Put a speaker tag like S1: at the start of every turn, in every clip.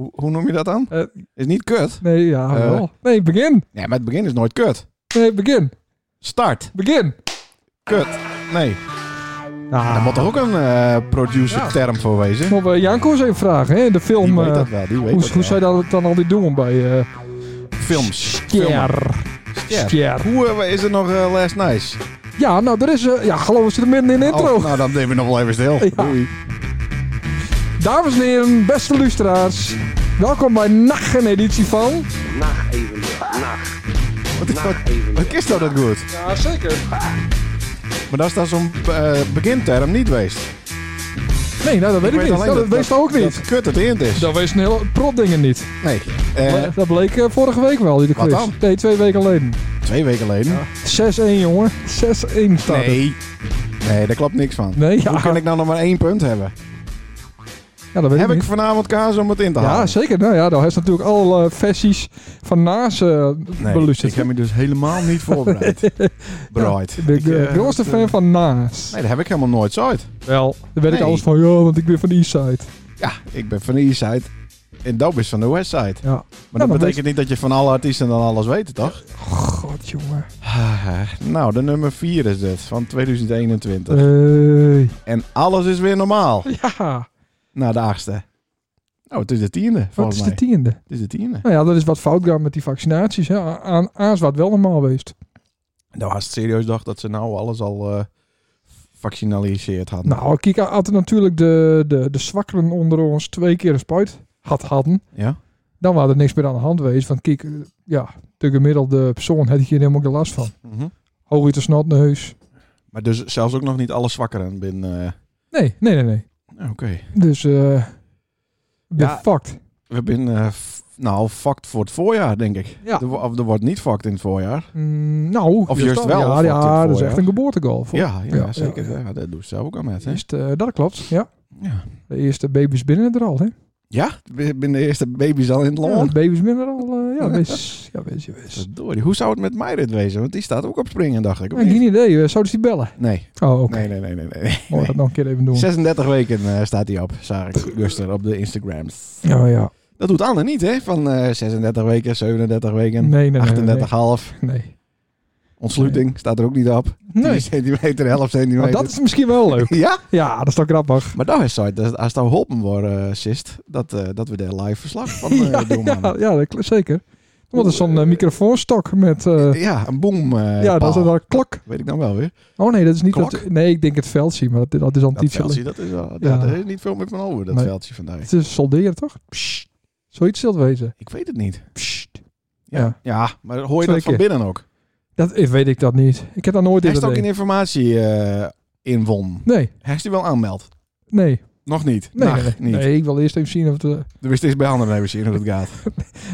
S1: Hoe, hoe noem je dat dan?
S2: Eh,
S1: Is niet kut.
S2: nee, ja,
S1: Eh.
S2: wel. Nee, begin.
S1: Nee, maar het begin is nooit kut.
S2: Nee, begin.
S1: Start.
S2: Begin.
S1: Kut. Nee. Daar
S2: Ah,
S1: moet toch ook een eh producer term voor wezen?
S2: Moeten we Janko eens even vragen, hè? De
S1: Die
S2: film...
S1: weet
S2: eh,
S1: dat wel. Die weet
S2: hoe
S1: dat
S2: hoe
S1: wel.
S2: zij dat dan altijd doen bij eh
S1: Films. Filmen.
S2: Ster.
S1: Ja.
S2: Ster.
S1: Hoe eh, is het nog eh, last nice?
S2: Ja, nou, er is... eh, ja, geloof ik, ze er midden in de intro.
S1: Oh, nou, dan nemen we nog wel even stil.
S2: Ja.
S1: Doei.
S2: Dames en heren, beste luisteraars. Welkom bij nacht een editie van...
S3: Nacht even weer. Nacht.
S1: Wat is dat?
S3: Nacht even
S1: Wat is dat dat goed?
S2: Ja, zeker.
S1: Maar dat is dan zo'n eh, beginterm niet geweest. Ik
S2: Nee, nou, dat weet ik, niet. Nou, dat, wees dat ook niet.
S1: Dat kut het eend is.
S2: Dat wees een heel prop dingen niet.
S1: Nee. Eh,
S2: Maar dat bleek eh, vorige week wel, die
S1: Wat
S2: quiz.
S1: dan?
S2: Nee, twee weken geleden.
S1: twee weken geleden.
S2: 6-1, jongen. 6-1 staat het.
S1: Nee. Nee, daar klopt niks van.
S2: Nee, ja.
S1: Hoe kan ik nou nog maar één punt hebben?
S2: ja, dat weet
S1: Heb
S2: ik
S1: ik
S2: niet.
S1: vanavond kaas om het in te
S2: Ja,
S1: halen?
S2: zeker. Nou ja, daar is natuurlijk alle versies van naast eh
S1: Nee,
S2: beluisterd.
S1: ik heb me dus helemaal niet voorbereid. Bright.
S2: de
S1: Ik,
S2: de
S1: eh,
S2: grootste
S1: dat, eh,
S2: fan van naast.
S1: Nee, dat heb ik helemaal nooit zoiets.
S2: Wel. Daar weet ik
S1: Nee.
S2: alles van. Ja, want ik ben van de Eastside.
S1: Ja, ik ben van de East Side en Dope is van de West Side.
S2: Ja.
S1: Nou, Maar
S2: Ja,
S1: dat
S2: dan
S1: betekent niet dat je van alle artiesten dan alles weet, toch?
S2: God, jongen.
S1: Nou, de nummer 4 is dit, van 2021.
S2: Hey.
S1: En alles is weer normaal.
S2: Ja.
S1: Na de achtste. Nou, het is de tiende,
S2: Wat
S1: volgens
S2: is
S1: mij.
S2: de tiende?
S1: het is de tiende.
S2: Nou ja, dat is wat fout gegaan met die vaccinaties. Hè. A- Aan Aas wat wel normaal geweest.
S1: Nou, als het serieus dacht dat ze nou alles al eh vaccinaliseerd hadden.
S2: Nou, kijk, hadden natuurlijk de, de, de zwakkeren onder ons twee keer een spuit had hadden.
S1: Ja?
S2: Dan waren er niks meer aan de hand geweest. Want kijk, eh, ja, de gemiddelde persoon had hier helemaal geen last van.
S1: Mhm.
S2: Hooguit een snotneus.
S1: Maar dus zelfs ook nog niet alle zwakkeren binnen... eh,
S2: Nee, nee, nee, nee.
S1: Oké.
S2: Dus, eh ben
S1: Ja.
S2: fucked.
S1: We zijn eh, f- nou, fucked voor het voorjaar, denk ik.
S2: Ja.
S1: Er, wo- of er wordt niet fucked in het voorjaar.
S2: Mm, nou,
S1: Of
S2: dus
S1: juist
S2: dat-
S1: wel, of
S2: Ja,
S1: wat het
S2: ja dat is
S1: voorjaar.
S2: echt een geboortegoal. voor-
S1: Ja, ja,
S2: Ja,
S1: zeker.
S2: ja,
S1: Ja, dat doet ze ook al met. Hè?
S2: Is het, eh, dat klopt, ja.
S1: Ja.
S2: De eerste baby's binnen er al, hè?
S1: ja, ik ben de eerste baby's al in het
S2: Ja, de
S1: land.
S2: baby's binnen er al. eh, ja, wees. ja, wees, ja, wees.
S1: Verdorie. Hoe zou het met Meirit wezen? Want die staat ook op springen, dacht ik. of
S2: Ja,
S1: niet?
S2: geen idee. eh, Zouden ze die bellen?
S1: Nee.
S2: Oh, oké.
S1: Nee, nee, nee, nee, nee.
S2: Moet
S1: nee.
S2: dat nog een keer even doen.
S1: 36 weken eh, staat hij op, zag ik gisteren op de Instagrams.
S2: Ja, ja.
S1: Dat doet Anne niet, hè? Van eh, 36 weken, 37 weken,
S2: Nee, nee, nee.
S1: 38,5.
S2: nee, Nee.
S1: Ontsluiting staat er ook niet op. 10
S2: Nee.
S1: centimeter, 11
S2: Maar
S1: centimeter.
S2: dat is misschien wel leuk.
S1: Ja?
S2: Ja, dat is toch grappig.
S1: Maar daar is het, dat als het geholpen wordt, eh, Sist, dat, eh, dat we daar live verslag van eh,
S2: ja,
S1: doen.
S2: ja,
S1: man.
S2: ja, dat kl- zeker. Want er is zo'n eh, microfoonstok met... eh,
S1: Ja, een boom. eh,
S2: ja, dat is
S1: paal.
S2: een klok.
S1: Weet ik dan wel weer.
S2: Oh nee, dat is niet...
S1: Klok?
S2: Dat, nee, ik denk het veldje, maar dat, dat is al een
S1: Dat
S2: tiefje.
S1: veldje, dat is wel. Ja.
S2: Ja.
S1: daar is niet veel meer van over, dat
S2: Nee.
S1: veldje vandaag.
S2: Het is solderen, toch?
S1: Psst,
S2: Zoiets zal het wezen.
S1: ik weet het niet. Psst. Ja.
S2: Ja.
S1: ja. maar hoor je
S2: Twee
S1: dat van
S2: keer.
S1: binnen ook?
S2: Dat eh, weet ik dat niet. Ik heb daar nooit
S1: Hij
S2: in
S1: is ook in
S2: gedaan.
S1: informatie eh, inwon.
S2: Nee,
S1: Hij is die wel aanmeld.
S2: nee,
S1: Nog niet.
S2: nee,
S1: Nog
S2: nee, nee.
S1: niet.
S2: Nee, ik wil eerst even zien of de...
S1: Er wist eens bij anderen even zien hoe het gaat.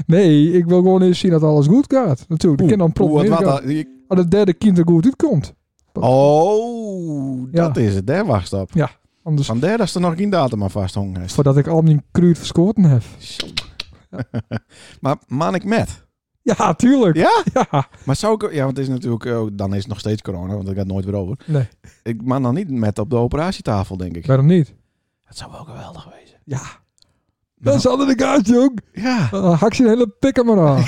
S2: Nee, ik wil gewoon eerst zien dat alles goed gaat. Natuurlijk, ik
S1: Oeh,
S2: kan dan prompt
S1: oeh, wat,
S2: meegaan.
S1: wat, die-
S2: Als het derde kind er goed uitkomt.
S1: Oh,
S2: Ja.
S1: dat is het. Daar wacht op.
S2: Anders,
S1: Van daar is er nog geen datum aan vasthangen.
S2: voordat ik al mijn kruid verscoord heb.
S1: Zo. maar man ik met.
S2: Ja, tuurlijk.
S1: Ja?
S2: Ja.
S1: Maar zou ik... Ja, want het is natuurlijk... eh, dan is het nog steeds corona, want dat gaat nooit weer over.
S2: Nee,
S1: Ik man dan niet met op de operatietafel, denk ik.
S2: waarom niet?
S1: Dat zou wel geweldig wezen.
S2: Ja.
S1: Nou.
S2: Dat is altijd de kaart, jong.
S1: Ja,
S2: Eh, hak je een hele pik aan maar aan.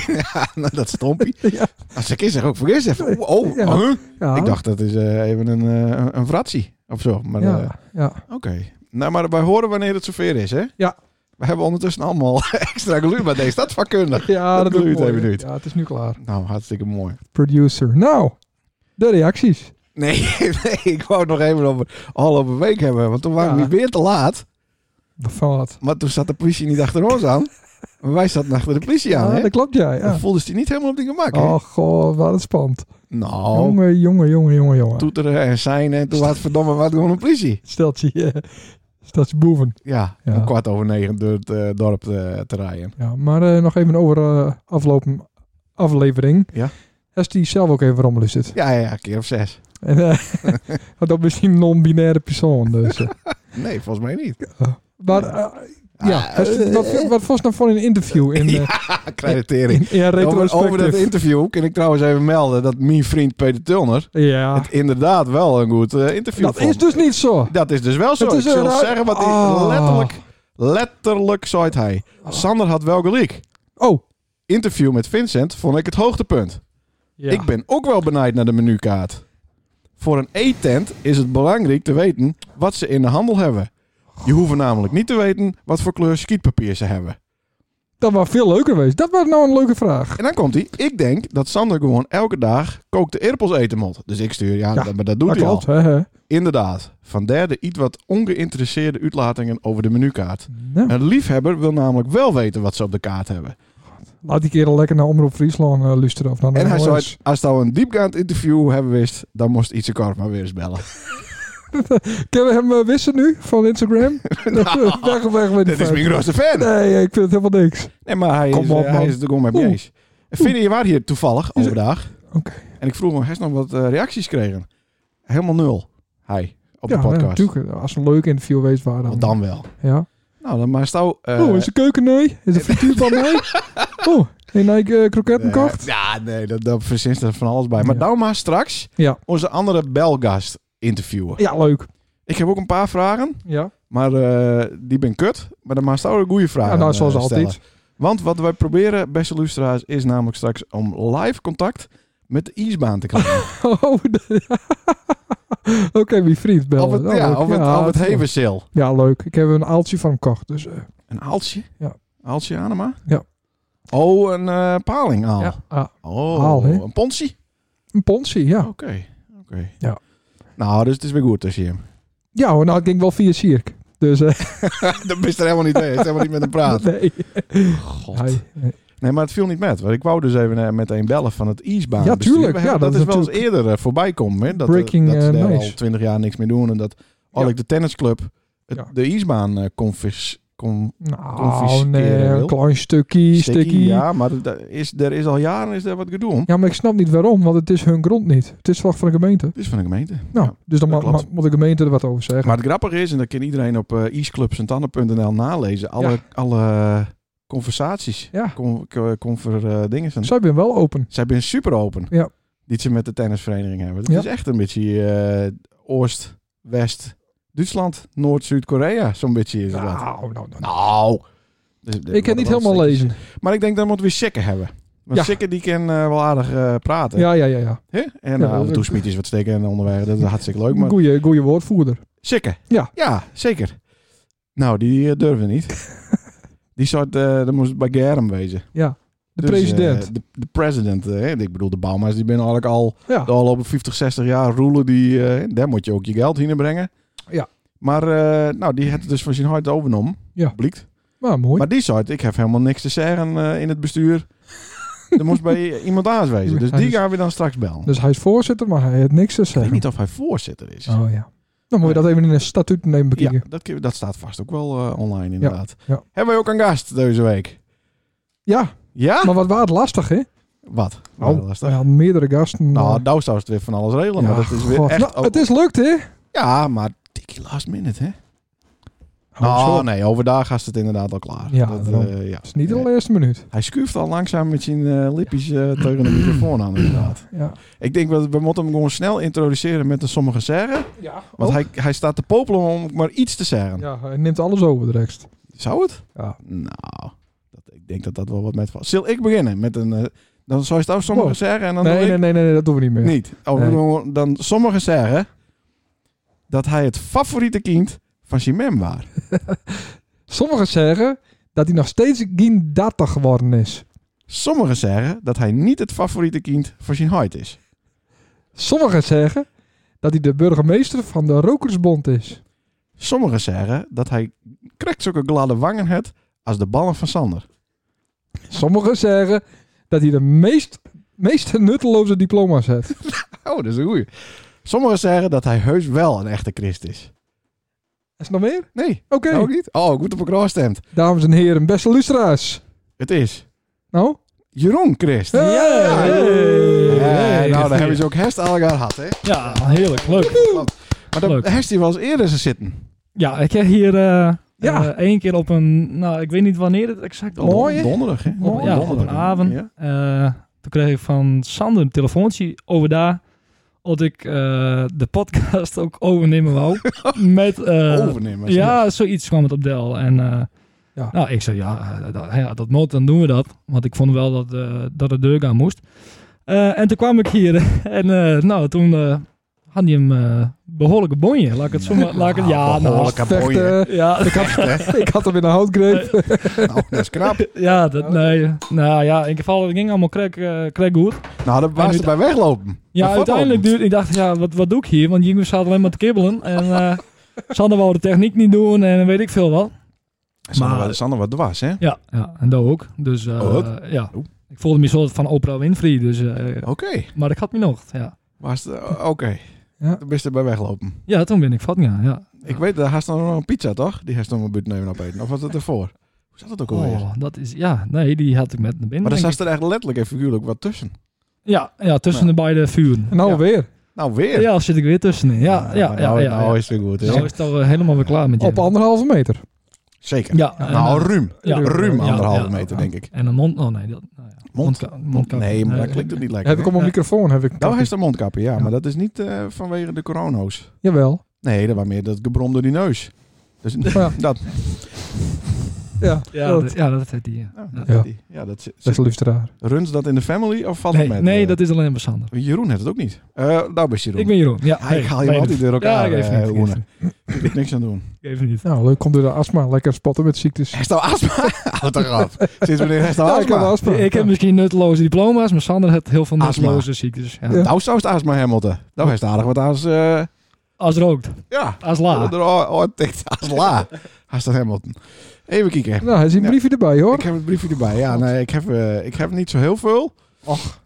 S1: nou, dat stompie.
S2: Ja.
S1: Als ik is zeg ook vergis even. Oh, oh,
S2: Ja. Ah.
S1: huh?
S2: Ja.
S1: Ik dacht dat is eh, even een, eh, een fratsie of zo. Maar
S2: ja,
S1: eh,
S2: ja.
S1: oké. Nou, maar wij horen wanneer het zover is, hè?
S2: Ja.
S1: We hebben ondertussen allemaal extra geluid bij deze stadvakkundig.
S2: ja, dat,
S1: doe je
S2: doe ik
S1: het
S2: mooi.
S1: even niet.
S2: Ja, het is nu klaar.
S1: Nou, hartstikke mooi.
S2: Producer. Nou, de reacties.
S1: Nee, nee, ik wou het nog even over al over een week hebben. Want toen waren
S2: Ja.
S1: we weer te laat.
S2: Van wat?
S1: Maar toen zat de politie niet achter ons aan. Maar wij zaten achter de politie aan,
S2: Ja,
S1: hè?
S2: Ah, dat klopt jij.
S1: Dan
S2: Ja.
S1: voelden ze die niet helemaal op die gemak, hè?
S2: Oh god, wat het spannend.
S1: Nou,
S2: Jongen, jongen, jongen, jongen, jongen.
S1: toeteren en zijn en toen was het verdomme wat gewoon een politie.
S2: Stelt je, eh, stelt je boeven.
S1: Ja,
S2: Ja.
S1: om kwart over negen door het eh, dorp te, te rijden.
S2: Ja, maar eh, nog even over eh aflopen, aflevering.
S1: Ja.
S2: Als die zelf ook even rommelig zit.
S1: Ja, ja, ja, een keer of zes.
S2: En, eh, want dat is een non-binaire persoon. Dus, eh.
S1: Nee, volgens mij niet.
S2: maar eh, ja,
S1: Ah,
S2: als-
S1: eh,
S2: wat, wat was nou voor een interview in, eh,
S1: ja, creditering.
S2: in, in
S1: Over,
S2: retrospectief?
S1: over dat interview kan ik trouwens even melden dat mijn vriend Peter Tulner
S2: ja,
S1: het inderdaad wel een goed eh, interview
S2: Ah. dat
S1: vond.
S2: is dus niet zo.
S1: Dat is dus wel zo.
S2: Het is
S1: ik zal
S2: een-
S1: zeggen wat hij
S2: Ah.
S1: letterlijk, Letterlijk zei hij. Sander had wel gelijk.
S2: Oh,
S1: Interview met Vincent vond ik het hoogtepunt.
S4: Ja.
S1: Ik ben ook wel benijd naar de menukaart. Voor een eettent is het belangrijk te weten wat ze in de handel hebben. Je hoeft namelijk niet te weten wat voor kleur skietpapier ze hebben.
S2: dat was veel leuker geweest. Dat was nou een leuke vraag.
S1: En dan komt hij. Ik denk dat Sander gewoon elke dag kookte erpels eten moet. Dus ik stuur, ja,
S2: Ja,
S1: dat, maar dat doet
S2: dat
S1: hij
S2: Ah, klopt.
S1: al.
S2: hè, hè.
S1: Inderdaad. Van derde iets wat ongeïnteresseerde uitlatingen over de menukaart.
S2: Nou,
S1: Een liefhebber wil namelijk wel weten wat ze op de kaart hebben.
S2: laat die kerel lekker naar Omroep Friesland eh, luisteren. Of naar de
S1: en hij
S2: NOS.
S1: zei, als het al een diepgaand interview hebben wist, dan moest Ietse Korf maar weer eens bellen.
S2: Kunnen we hem eh, wissen nu van Instagram? weg, weg met die
S1: Dit is
S2: foto.
S1: mijn grootste fan.
S2: Nee, ik vind het helemaal niks.
S1: Nee, maar hij
S2: Kom
S1: is,
S2: op,
S1: eh, hij
S2: man.
S1: is er gewoon mee
S2: Oeh.
S1: bezig. Vinnie, je waren hier toevallig
S2: Is-
S1: overdag.
S2: Oké.
S1: En ik vroeg hem, hij is nog wat eh, reacties gekregen. Helemaal nul. Hij, op de podcast.
S2: Ja, natuurlijk. Als een leuk interview geweest waren.
S1: Want dan wel.
S2: Ja.
S1: Nou, dan maar stouw... eh,
S2: oh, is de keuken nee? Is de frituurpan nee? Oh, en hij eh, kroketten
S1: eh,
S2: kocht?
S1: Ja, nee, dat, dat verzint er van alles bij. Maar
S2: Ja.
S1: nou maar straks
S2: Ja.
S1: onze andere belgast interviewen.
S2: Ja, leuk.
S1: Ik heb ook een paar vragen,
S2: Ja,
S1: maar eh, die ben kut. Maar dan maar stouw een goede vraag.
S2: ja nou, zoals altijd.
S1: Want wat wij proberen, beste luisteraars, is namelijk straks om live contact met de ijsbaan te krijgen.
S2: Oh, de- Oké, wie vriend bellen.
S1: of het,
S2: Oh,
S1: ja,
S2: leuk.
S1: of het,
S2: Ja,
S1: of het
S2: dat is leuk.
S1: Hevensil.
S2: Ja, leuk. Ik heb een aaltje van hem gekocht. Dus, eh,
S1: Een aaltje?
S2: Ja.
S1: Aaltje Anema?
S2: Ja.
S1: Oh, een eh paling aal.
S2: ja. Ah,
S1: Oh,
S2: Aal, hè?
S1: een pontie?
S2: een ponsie, ja.
S1: Oké. Oké.
S2: Ja.
S1: Nou, dus het is weer goed tussen je.
S2: Ja, hoor, nou, het ging wel via Cirque. Dus, eh,
S1: Dan ben je er helemaal niet mee. Je is helemaal niet met hem praten.
S2: nee.
S1: God.
S2: Hij- eh, nee.
S1: Nee, maar het viel niet met. Want ik wou dus even eh, meteen bellen van het IJsbaan.
S2: Ja, tuurlijk.
S1: We hebben-
S2: Ja,
S1: dat,
S2: dat
S1: is
S2: is
S1: wel eens eerder eh, voorbij komen. Hè? Dat, eh,
S2: Breaking,
S1: dat ze
S2: eh,
S1: daar al
S2: news.
S1: twintig jaar niks meer doen. En dat al ik de tennisclub het-
S2: Ja.
S1: de IJsbaan eh confis... Kom,
S2: Nou,
S1: Confisceren
S2: nee,
S1: wil.
S2: een klein stukje, stukje. Ja.
S1: Ja, maar dat is, er is al jaren is er wat gedoe om.
S2: maar ik snap niet waarom, want het is hun grond niet. Het is slag van de gemeente.
S1: Het is van de gemeente.
S2: Nou,
S1: Ja,
S2: dus dan
S1: dat
S2: ma-
S1: klopt.
S2: ma- moet de gemeente er wat over zeggen.
S1: Maar het grappige is, en dat kan iedereen op uh, nalezen, alle,
S2: Ja.
S1: alle conversaties,
S2: Ja.
S1: con, co- conver, eh, dingen. zijn-
S2: Zij ben wel open.
S1: Zij zijn super open.
S2: Ja.
S1: Die ze met de tennisvereniging hebben. Het
S2: Ja.
S1: is echt een beetje eh, Oost, West, Duitsland, Noord, Zuid-Korea. Zo'n beetje is het dat.
S2: Nou, nou, nou.
S1: Nou. Dus-
S2: Ik kan
S1: dat
S2: niet
S1: wel
S2: helemaal
S1: stukjes.
S2: lezen.
S1: Maar ik denk dat moeten we Sikke hebben. Want
S2: Ja.
S1: Sikke die kan eh, wel aardig eh, praten.
S2: Ja, ja, ja. ja.
S1: Hè? En
S2: Ja,
S1: eh, af en
S2: dat-
S1: toe smiet is wat steken en onderweg. Dat is hartstikke leuk. Maar
S2: Goeie, goeie woordvoerder.
S1: Sikke.
S2: Ja.
S1: Ja, zeker. Nou, die eh, durfde niet. die soort, eh dat moest bij Germ wezen.
S2: De
S1: Dus, eh,
S2: president.
S1: de, de president. eh, ik bedoel, de Bouwma's, die binnen eigenlijk al
S2: ja.
S1: de afgelopen 50, 60 jaar roelen die, eh, daar moet je ook je geld heen brengen.
S2: Ja.
S1: Maar eh, nou, die had het dus van zijn hart overgenomen.
S2: Ja.
S1: Blijkt.
S2: Maar mooi.
S1: Maar die zei, ik heb helemaal niks te zeggen eh, in het bestuur. er moest bij iemand anders wezen. Dus die gaan we dan straks bellen.
S2: Dus hij is voorzitter, maar hij heeft niks te
S1: Ik weet
S2: zeggen.
S1: niet of hij voorzitter is.
S2: Oh ja. Dan moet je dat even in een statuut nemen
S1: ja,
S2: bekijken.
S1: dat, kun je- dat staat vast ook wel eh, online inderdaad.
S2: ja.
S1: Hebben we ook een gast deze week?
S2: Ja.
S1: Ja?
S2: maar wat was het lastig, hè?
S1: Wat?
S2: Oh,
S1: lastig.
S2: we hadden meerdere gasten.
S1: Nou,
S2: eh,
S1: nou zou het weer van alles regelen. maar
S2: ja,
S1: dat is weer
S2: god.
S1: echt...
S2: Nou,
S1: ook-
S2: het is lukt, hè?
S1: Ja, maar tikkie last minute, hè?
S2: Oh,
S1: Nou,
S2: zo.
S1: nee, overdag is het inderdaad al klaar.
S2: Ja,
S1: dat,
S2: daarom.
S1: eh, ja.
S2: Het is niet
S1: Nee.
S2: de eerste minuut.
S1: Hij schuift al langzaam met zijn eh, lipjes eh, tegen de microfoon aan, inderdaad.
S2: Ja.
S1: Ik denk dat we moeten hem gewoon snel introduceren met een sommige zeggen.
S2: Ja.
S1: Want hij, hij staat te popelen om ook maar iets te zeggen.
S2: Oh. ja, hij neemt alles over de rest.
S1: Zou het?
S2: Ja.
S1: Nou, dat, ik denk dat dat wel wat met valt. Zal ik beginnen met een... eh, dan zou je het ook sommige
S2: Wow.
S1: zeggen en dan
S2: Oh. Nee,
S1: doe
S2: nee,
S1: ik
S2: nee, nee, nee, dat doen we niet meer.
S1: niet. Of
S2: Nee.
S1: gewoon Dan sommige zeggen dat hij het favoriete kind van zijn mem was.
S2: Sommigen zeggen dat hij nog steeds geen data geworden is.
S1: Sommigen zeggen dat hij niet het favoriete kind van zijn huid is.
S2: Sommigen zeggen dat hij de burgemeester van de Rokersbond is.
S1: Sommigen zeggen dat hij krek zulke gladde wangen heeft als de ballen van Sander.
S2: Sommigen zeggen dat hij de meest, meest nutteloze diploma's heeft.
S1: Oh, dat is een goeie. Sommigen zeggen dat hij heus wel een echte christ is.
S2: Is er nog meer?
S1: Nee,
S2: Oké.
S1: ook niet. Oh, goed op elkaar stemt.
S2: Dames en heren, beste luisteraars.
S1: Het is
S2: Nou?
S1: Jeroen Christ.
S2: Hey!
S1: Eh,
S4: Hey.
S1: nou, daar hebben ze ook herst al gehad, hè?
S4: Ja, heerlijk. Leuk.
S1: Maar dat
S4: Leuk.
S1: herst die was eerder ze zitten.
S4: Ja, ik heb hier eh,
S2: Ja.
S4: eh, één keer op een... Nou, ik weet niet wanneer het exact was.
S2: Mooi, hè?
S1: Donderdag, hè?
S4: Op, ja, op een
S1: Donderdag.
S4: avond.
S1: Ja.
S4: Eh, toen kreeg ik van Sander een telefoontje over daar. dat ik eh, de podcast ook overnemen wou. met, eh,
S1: Overnemen.
S4: ja, zoiets kwam het op Del. En eh,
S2: Ja.
S4: nou, ik zei, ja, eh, dat, ja, dat moet, dan doen we dat. Want ik vond wel dat, eh, dat de deur gaan moest. Eh, en toen kwam ik hier en eh, nou, toen eh, had hij hem eh behoorlijke bonje. Laat ik het zo maar... laat ik het, ja, nou,
S1: behoorlijk. Kapoeien.
S2: Vechten.
S4: ja,
S2: Ik had, ik had hem in de houtgreep.
S1: Nou, dat is knap.
S4: ja,
S1: Oh.
S4: dat, nee. Nou ja, in geval, het ging allemaal krek, eh krek goed.
S1: Nou, dat was
S4: nu-
S1: het bij weglopen.
S4: Ja,
S1: Dat valt
S4: uiteindelijk
S1: ook niet.
S4: duurde ik dacht, ja, wat, wat doe ik hier? Want Jingo zat alleen maar te kibbelen. En eh Sander wou de techniek niet doen en weet ik veel wat.
S1: Sander,
S4: maar-
S1: wat- Sander wat dwars, hè?
S4: Ja, ja en dat ook. Dus eh,
S1: Oh,
S4: ja,
S1: Oeh.
S4: ik voelde me een soort van Oprah Winfrey. Dus, eh,
S1: Oké.
S4: Maar ik had me nog. Ja.
S1: Was het- eh, Oké.
S2: Ja.
S1: Dan ben je er bij weglopen.
S4: ja, toen ben ik vat gegaan. Ja.
S1: Ik weet, daar had nog een pizza, toch? Die had nog een buurt nemen opeten. Of was dat ervoor? Hoe zat dat ook alweer?
S4: Oh, dat is, ja, nee, die had ik met naar binnen.
S1: Maar daar
S4: denk
S1: zat er echt letterlijk en figuurlijk wat tussen.
S4: ik. Ja, ja, tussen
S1: Ja.
S4: de beide vuren.
S2: Nou,
S1: Ja.
S2: weer.
S1: Nou, weer.
S4: Ja, zit ik weer tussenin. Ja,
S1: Ah,
S4: ja,
S1: maar
S4: ja.
S1: nou,
S4: ja,
S1: nou
S4: ja.
S1: is het weer goed. hè?
S4: Nou is het al eh, helemaal weer klaar met je.
S2: Op anderhalve meter.
S1: Zeker.
S4: Ja, en,
S1: nou,
S4: eh,
S1: ruim.
S4: ja.
S1: Ruim
S4: Ja,
S1: anderhalve
S4: ja.
S1: meter, denk ik.
S4: En een mond... Oh nee, dat... nou ja.
S1: Mond.
S4: Mondka- mondkapje.
S1: Nee, maar
S4: Nee.
S1: dat klinkt het niet lekker.
S2: Heb ik op mijn microfoon. Heb ik
S1: Nou, hij is een mondkapje, ja,
S2: Ja.
S1: Maar dat is niet eh, vanwege de corona's.
S2: Jawel.
S1: Nee, dat was meer dat gebrom door die neus. Dus
S2: Ja.
S1: dat.
S2: Ja,
S4: Ja,
S2: dat,
S4: dat, ja, dat heeft hij. ja.
S1: Ja,
S4: Ja.
S1: dat,
S2: Ja.
S1: die- ja, dat zit,
S2: beste
S1: zit-
S2: luisteraar.
S1: runs dat in de family of valt
S4: Nee,
S1: het met?
S4: nee
S1: eh,
S4: dat is alleen maar Sander.
S1: Jeroen heeft het ook niet. Eh nou, best Jeroen.
S4: Ik ben Jeroen. Ja,
S1: Ja,
S4: nee,
S1: ik haal je
S4: nee,
S1: altijd
S4: dus-
S1: door
S4: Ja,
S1: elkaar.
S4: ik even
S1: eh,
S4: niet.
S1: Roene.
S4: Even,
S1: Ik heb niks aan doen.
S4: even niet.
S2: Nou, leuk komt door de astma. Lekker spotten met ziektes.
S1: Hij nou astma? Houd toch af. Sinds wanneer heeft nou
S2: Ja, ik heb
S1: astma?
S2: astma.
S4: Ik heb misschien nutteloze diploma's, maar Sander heeft heel veel
S1: Astma.
S4: nutteloze ziektes. Ja.
S2: Ja.
S1: Nou, zou het astma Hamilton. Nou, heeft aardig wat als... eh
S4: Als rookt,
S1: ja.
S4: als
S1: Oh,
S4: la.
S1: er- oh, oh, tikt. Als la. Als dat Hamilton. Even kijken.
S2: Nou, hij zit een
S1: Ja.
S2: briefje erbij, hoor.
S1: Ik heb het briefje erbij. Ja, nee, ik heb, eh, ik heb niet zo heel veel. Och.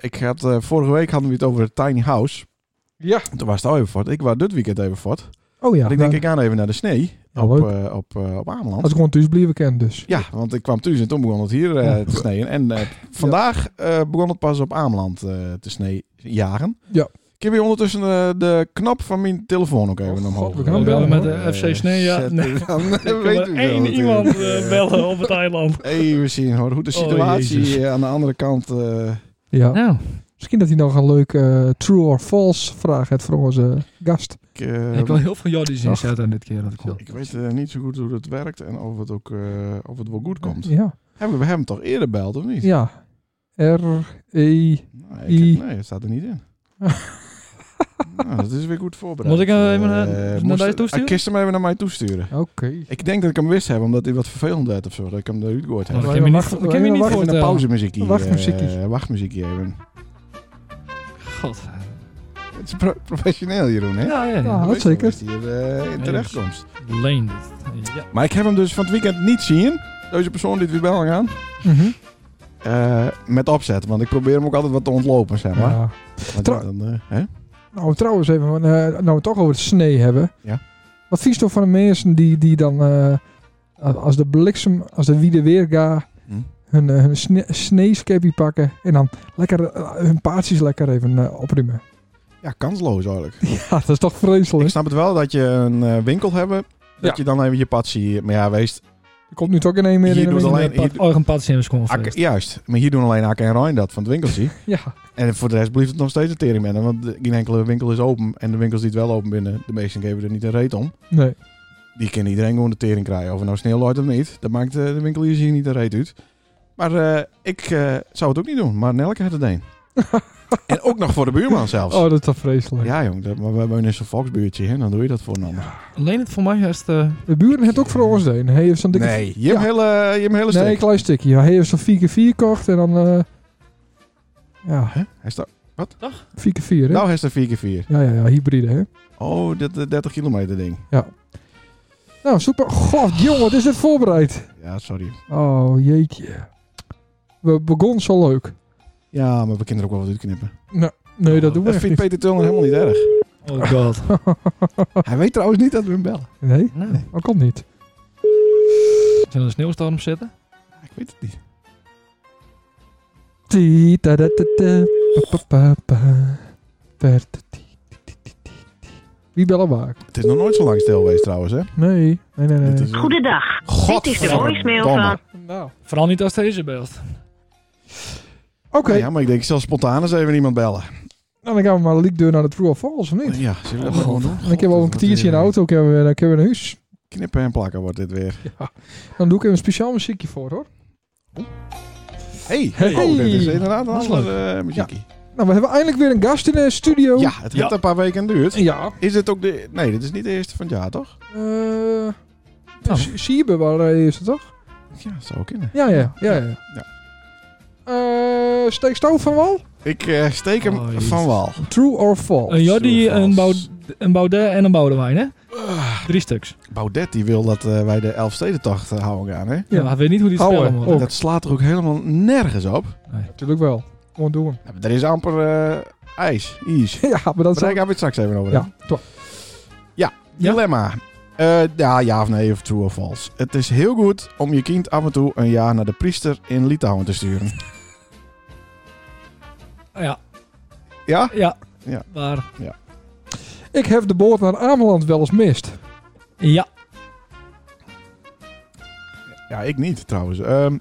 S1: ik had, eh, vorige week hadden we het over het Tiny House.
S2: Ja.
S1: Toen was het al even fort. Ik was dit weekend even fort.
S2: Oh ja.
S1: Want ik denk,
S2: nou,
S1: ik ga even naar de snee
S2: Ja,
S1: op,
S2: leuk.
S1: eh, op, eh, op Ameland.
S2: Als ik gewoon thuis blijven ken, dus.
S1: Ja, want ik kwam thuis en toen begon het hier eh,
S2: Ja.
S1: te sneeuwen. En eh, vandaag eh, begon het pas op Ameland eh, te sneejagen.
S2: Ja.
S1: Ik heb hier ondertussen eh, de knop van mijn telefoon ook even
S2: Oh,
S1: omhoog.
S2: God, we gaan
S1: eh,
S2: bellen met de
S1: eh,
S4: FC Snee, ja.
S1: zetten.
S4: Nee.
S1: Dan eh,
S4: Ik
S1: weet
S4: kan
S1: u
S4: maar
S1: wel
S4: één
S1: natuurlijk.
S4: iemand eh, bellen op het eiland.
S1: Even zien hoor, hoe de
S4: Oh,
S1: situatie
S4: Jezus.
S1: eh, aan de andere kant... eh,
S2: Ja.
S4: Nou,
S2: Misschien dat hij nog een leuk eh, true or false vraag heeft voor onze gast.
S1: ik, eh,
S4: ik wil heel veel Jordi's
S2: Ach.
S4: inzetten dit keer. Dat ik hoor.
S1: ik weet eh, niet zo goed hoe dat werkt en of het ook eh, of het wel goed komt.
S2: Ja.
S1: Hebben we hem toch eerder beld of niet?
S2: Ja. R, E.
S1: Nee,
S2: I-
S1: ik, nee, het staat er niet in. nou, dat is weer goed voorbereid.
S4: Moet ik hem even naar-
S1: Eh,
S4: naar
S1: moest-
S4: mij
S1: ik
S4: toesturen?
S1: kist hem even naar mij toesturen.
S2: Oké.
S1: Ik denk dat ik hem wist heb, omdat hij wat vervelend werd of zo. Dat ik hem eruit gehoord heb.
S4: Oh, dat
S2: maar
S4: kan je me niet,
S2: wacht-
S4: dat kan je me
S2: maar
S4: niet
S2: wacht
S1: Even een
S4: voorstellen.
S1: pauzemuziekje. eh,
S2: Wachtmuziekie.
S1: wachtmuziekie even.
S4: eh, God.
S1: Het is pro- professioneel, Jeroen, hè?
S4: Ja, ja,
S2: Ja.
S4: ja.
S1: Dat
S2: dat
S1: is wel
S2: zeker.
S1: Dat hij hier eh, in terechtkomst.
S4: Leen dit. Ja.
S1: Maar ik heb hem dus van het weekend niet zien. Deze persoon die we bellen gaan.
S2: Mhm.
S1: Eh, met opzet, want ik probeer hem ook altijd wat te ontlopen, zeg maar.
S2: Ja.
S1: Want ja, dan, eh, hè?
S2: Nou, trouwens even, eh, nou we het toch over het snee hebben.
S1: Ja.
S2: Wat vies toch van de mensen die, die dan, eh, als de bliksem, als de wiede weer gaat,
S1: Hm.
S2: hun, eh, hun sne sneeskeppie pakken en dan lekker eh, hun paardjes lekker even eh, opruimen.
S1: ja, kansloos eigenlijk.
S2: Ja, dat is toch
S1: Ik
S2: vreselijk.
S1: snap het wel dat je een eh, winkel hebben. Dat
S2: Ja.
S1: je dan even je pad ziet. Maar ja, wees.
S2: Er komt nu toch in één meer
S1: Hier
S2: in de
S1: doet
S2: winkel.
S1: alleen- hier-
S4: Orgen Patsiems
S1: Akke- juist. Maar hier doen alleen Akke en Rijn dat van het winkeltje.
S2: Ja,
S1: en voor de rest blijft het nog steeds een tering Want de- geen enkele winkel is open. En de winkels die het wel open binnen, de meesten geven er niet een reet om.
S2: nee.
S1: Die kan iedereen gewoon de tering krijgen. Of het nou sneeuw looit of niet. Dat maakt eh, de winkel hier zich niet een reet uit. Maar eh, ik eh, zou het ook niet doen. Maar Nelke had het een. en ook nog voor de buurman zelfs.
S2: Oh, dat is toch vreselijk.
S1: Ja, jong. Dat, maar we hebben dus een volksbuurtje. Hè? Dan doe je dat voor een ander.
S4: Leen het voor mij juist... eh,
S2: De buren hebben het ook voor ons deen. Hij heeft zo'n dikke...
S1: Nee, je hebt
S2: Ja.
S1: hele, je hebt hele
S2: Nee, een
S1: steek.
S2: klein stukje. Ja, hij heeft zo'n 4x4 gekocht en dan... eh, ja,
S1: Hè? Hij staat.
S2: 4x4 hè?
S1: Nou, hij is er 4x4.
S2: Ja, ja, ja, hybride hè.
S1: Oh, dat eh, 30 kilometer ding.
S2: Nou, super. God, jongen, wat is dit voorbereid?
S1: Ja, sorry.
S2: Oh, jeetje. We begonnen zo leuk. Nou,
S1: Ja, maar we kunnen er ook wel wat uitknippen.
S2: Nee, dat doen we
S1: Dat
S2: echt
S1: vindt
S2: niet.
S1: Peter Tullen helemaal niet erg.
S4: Oh god.
S1: Hij weet trouwens niet dat we hem bellen.
S2: Nee,
S4: Nou,
S2: dat komt niet.
S4: Zullen we een sneeuwstorm zetten?
S1: Ik weet het niet.
S2: Ti, ta, da, ta, ta, pa, pa, pa, pa, per, ta, ti, ti, ti, ti, ti, ti. Wie bellen waar?
S1: Het is nog nooit zo lang stil geweest trouwens, hè?
S2: Nee, nee,
S1: Dit
S2: nee, nee.
S1: is een-
S5: Goedendag. Dit is de voicemail
S1: Godverdomme.
S5: van.
S2: Nou.
S4: Vooral niet als deze beeld.
S2: Oké,
S1: Ja, maar ik denk, ik zal spontaan eens even iemand bellen.
S2: Nou, dan gaan we maar liek deur naar de True of False, of niet?
S1: Ja, zullen we dat
S4: Oh,
S1: gewoon doen?
S2: Dan
S4: God.
S2: kunnen we over een kwartiertje in de auto, kunnen we, dan kunnen we naar huis.
S1: Knippen en plakken wordt dit weer.
S2: Dan doe ik even een speciaal muziekje voor, hoor.
S1: Hey,
S2: Hey.
S1: Oh, dit is inderdaad een
S4: Dat is
S1: andere eh, muziekje.
S2: Nou, we hebben eindelijk weer een gast in de studio.
S1: Ja, het heeft een paar weken duurt.
S2: Ja.
S1: Is dit ook de... Nee, dit is niet de eerste van het jaar, toch?
S2: Eh,
S4: Nou.
S2: S- Siebe waren de eerste, toch?
S1: Ja, dat zou kunnen.
S2: Ja, ja, ja. ja.
S1: Ja.
S2: Eh, steek stoof van wal?
S1: Ik eh, steek hem
S4: Oh, jezus.
S1: van wal.
S2: True or
S1: Oh,
S2: false?
S4: Een Jordi, eh,
S1: True
S4: een,
S1: False.
S4: Baud- een Baudet en een Boudewijn, hè?
S2: Ah,
S4: Drie stuks.
S1: Baudet die wil dat eh, wij de Elfstedentocht eh, houden gaan, hè?
S4: Ja.
S2: Ja.
S4: maar ik weet niet hoe die het
S2: Ouwe,
S4: spellen moet.
S2: ook.
S1: Dat slaat er ook helemaal nergens op.
S2: Natuurlijk wel. Gewoon doen.
S1: Ja, maar Er is amper eh, ijs. Ijs.
S2: ja, maar dat
S1: Daar
S2: is...
S1: gaan we het straks even over hebben.
S2: Ja, toch.
S4: Ja.
S1: Dilemma. Eh, ja, ja of nee of true of false. Het is heel goed om je kind af en toe een jaar naar de priester in Litouwen te sturen.
S4: Ja,
S1: Ja?
S4: ja.
S1: Ja.
S4: Maar,
S2: Ik heb de boot naar Ameland wel eens mist.
S4: ja.
S1: Ja, ik niet trouwens. Ehm,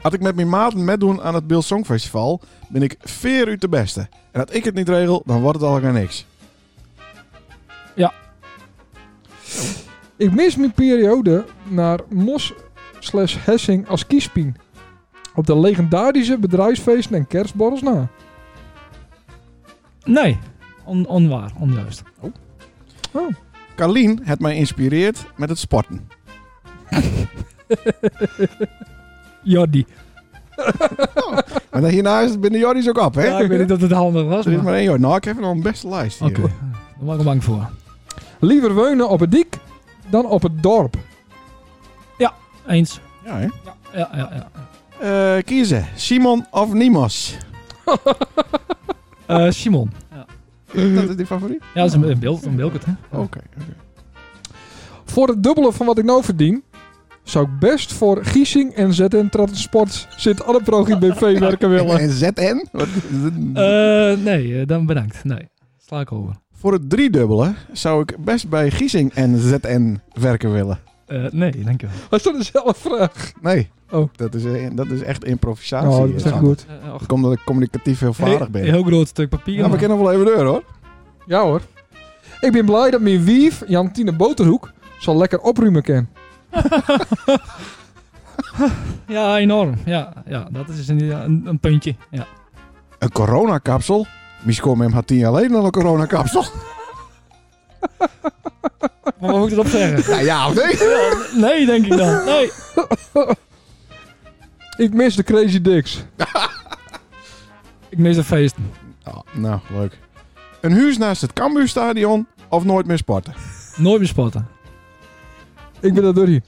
S1: had ik met mijn maten meedoen aan het Bill Song Festival, ben ik veer u de beste. En had ik het niet regel, dan wordt het al gaan niks.
S2: Ik mis mijn periode naar Mos slash Hessing als kiespien. Op de legendarische bedrijfsfeesten en kerstborrels na.
S4: Nee. On, onwaar, onjuist.
S1: Carlien het mij inspireerd met het sporten.
S4: Jordi.
S1: Maar dan hierna is het binnen Jordi's ook op, hè?
S4: Ja, ik weet niet of het handig was,
S1: Er is
S4: maar...
S1: maar één Jordi. Nou, ik heb nog een beste lijst hier.
S4: Oké, daar was ik bang voor.
S2: Liever wonen op het dik dan op het dorp.
S4: Eens.
S1: Ja, hè?
S4: Ja, ja, ja. ja.
S1: Eh, kiezen. Simon of Nimos?
S4: Eh, Simon. Ja,
S1: Dat is die favoriet?
S4: ja dat is een, een beeld, een beeld, hè?
S1: Oké. oké.
S2: Voor het dubbele van wat ik nou verdien, zou ik best voor Giesing en ZN Transport sint Anneprogie BV werken willen.
S1: En ZN? Wat is het?
S4: Eh, nee, eh, dan bedankt. Nee, sla ik over.
S1: Voor het driedubbele zou ik best bij Giesing en ZN werken willen.
S4: Eh, nee, dankjewel.
S2: Dat is toch dezelfde vraag?
S1: Nee.
S2: Oh.
S1: Dat is, eh, dat is echt improvisatie.
S2: Oh, dat is echt
S1: eh,
S2: goed.
S4: Eh, och,
S1: Ik kom dat ik communicatief heel vaardig ben.
S4: Heel, heel groot stuk papier.
S1: Nou, we
S4: maar-
S1: kennen wel even deur hoor.
S2: Ja hoor. Ik ben blij dat mijn wief, Jantine Boterhoek, zal lekker opruimen kan.
S4: Ja, enorm. Ja, ja dat is een, ja, een, een puntje. Ja.
S1: Een coronakapsel? Misschien kwam hem had tien jaar geleden al een coronakapsel.
S4: Maar wat moet ik erop zeggen?
S1: nou ja, of nee?
S4: Nee, denk ik dan. Nee.
S2: Ik mis de Crazy Dicks.
S4: Ik mis de feesten.
S1: Oh, nou, leuk. Een huis naast het Cambuurstadion of nooit meer sporten?
S4: Nooit meer spotten.
S2: Ik ben dat door hier.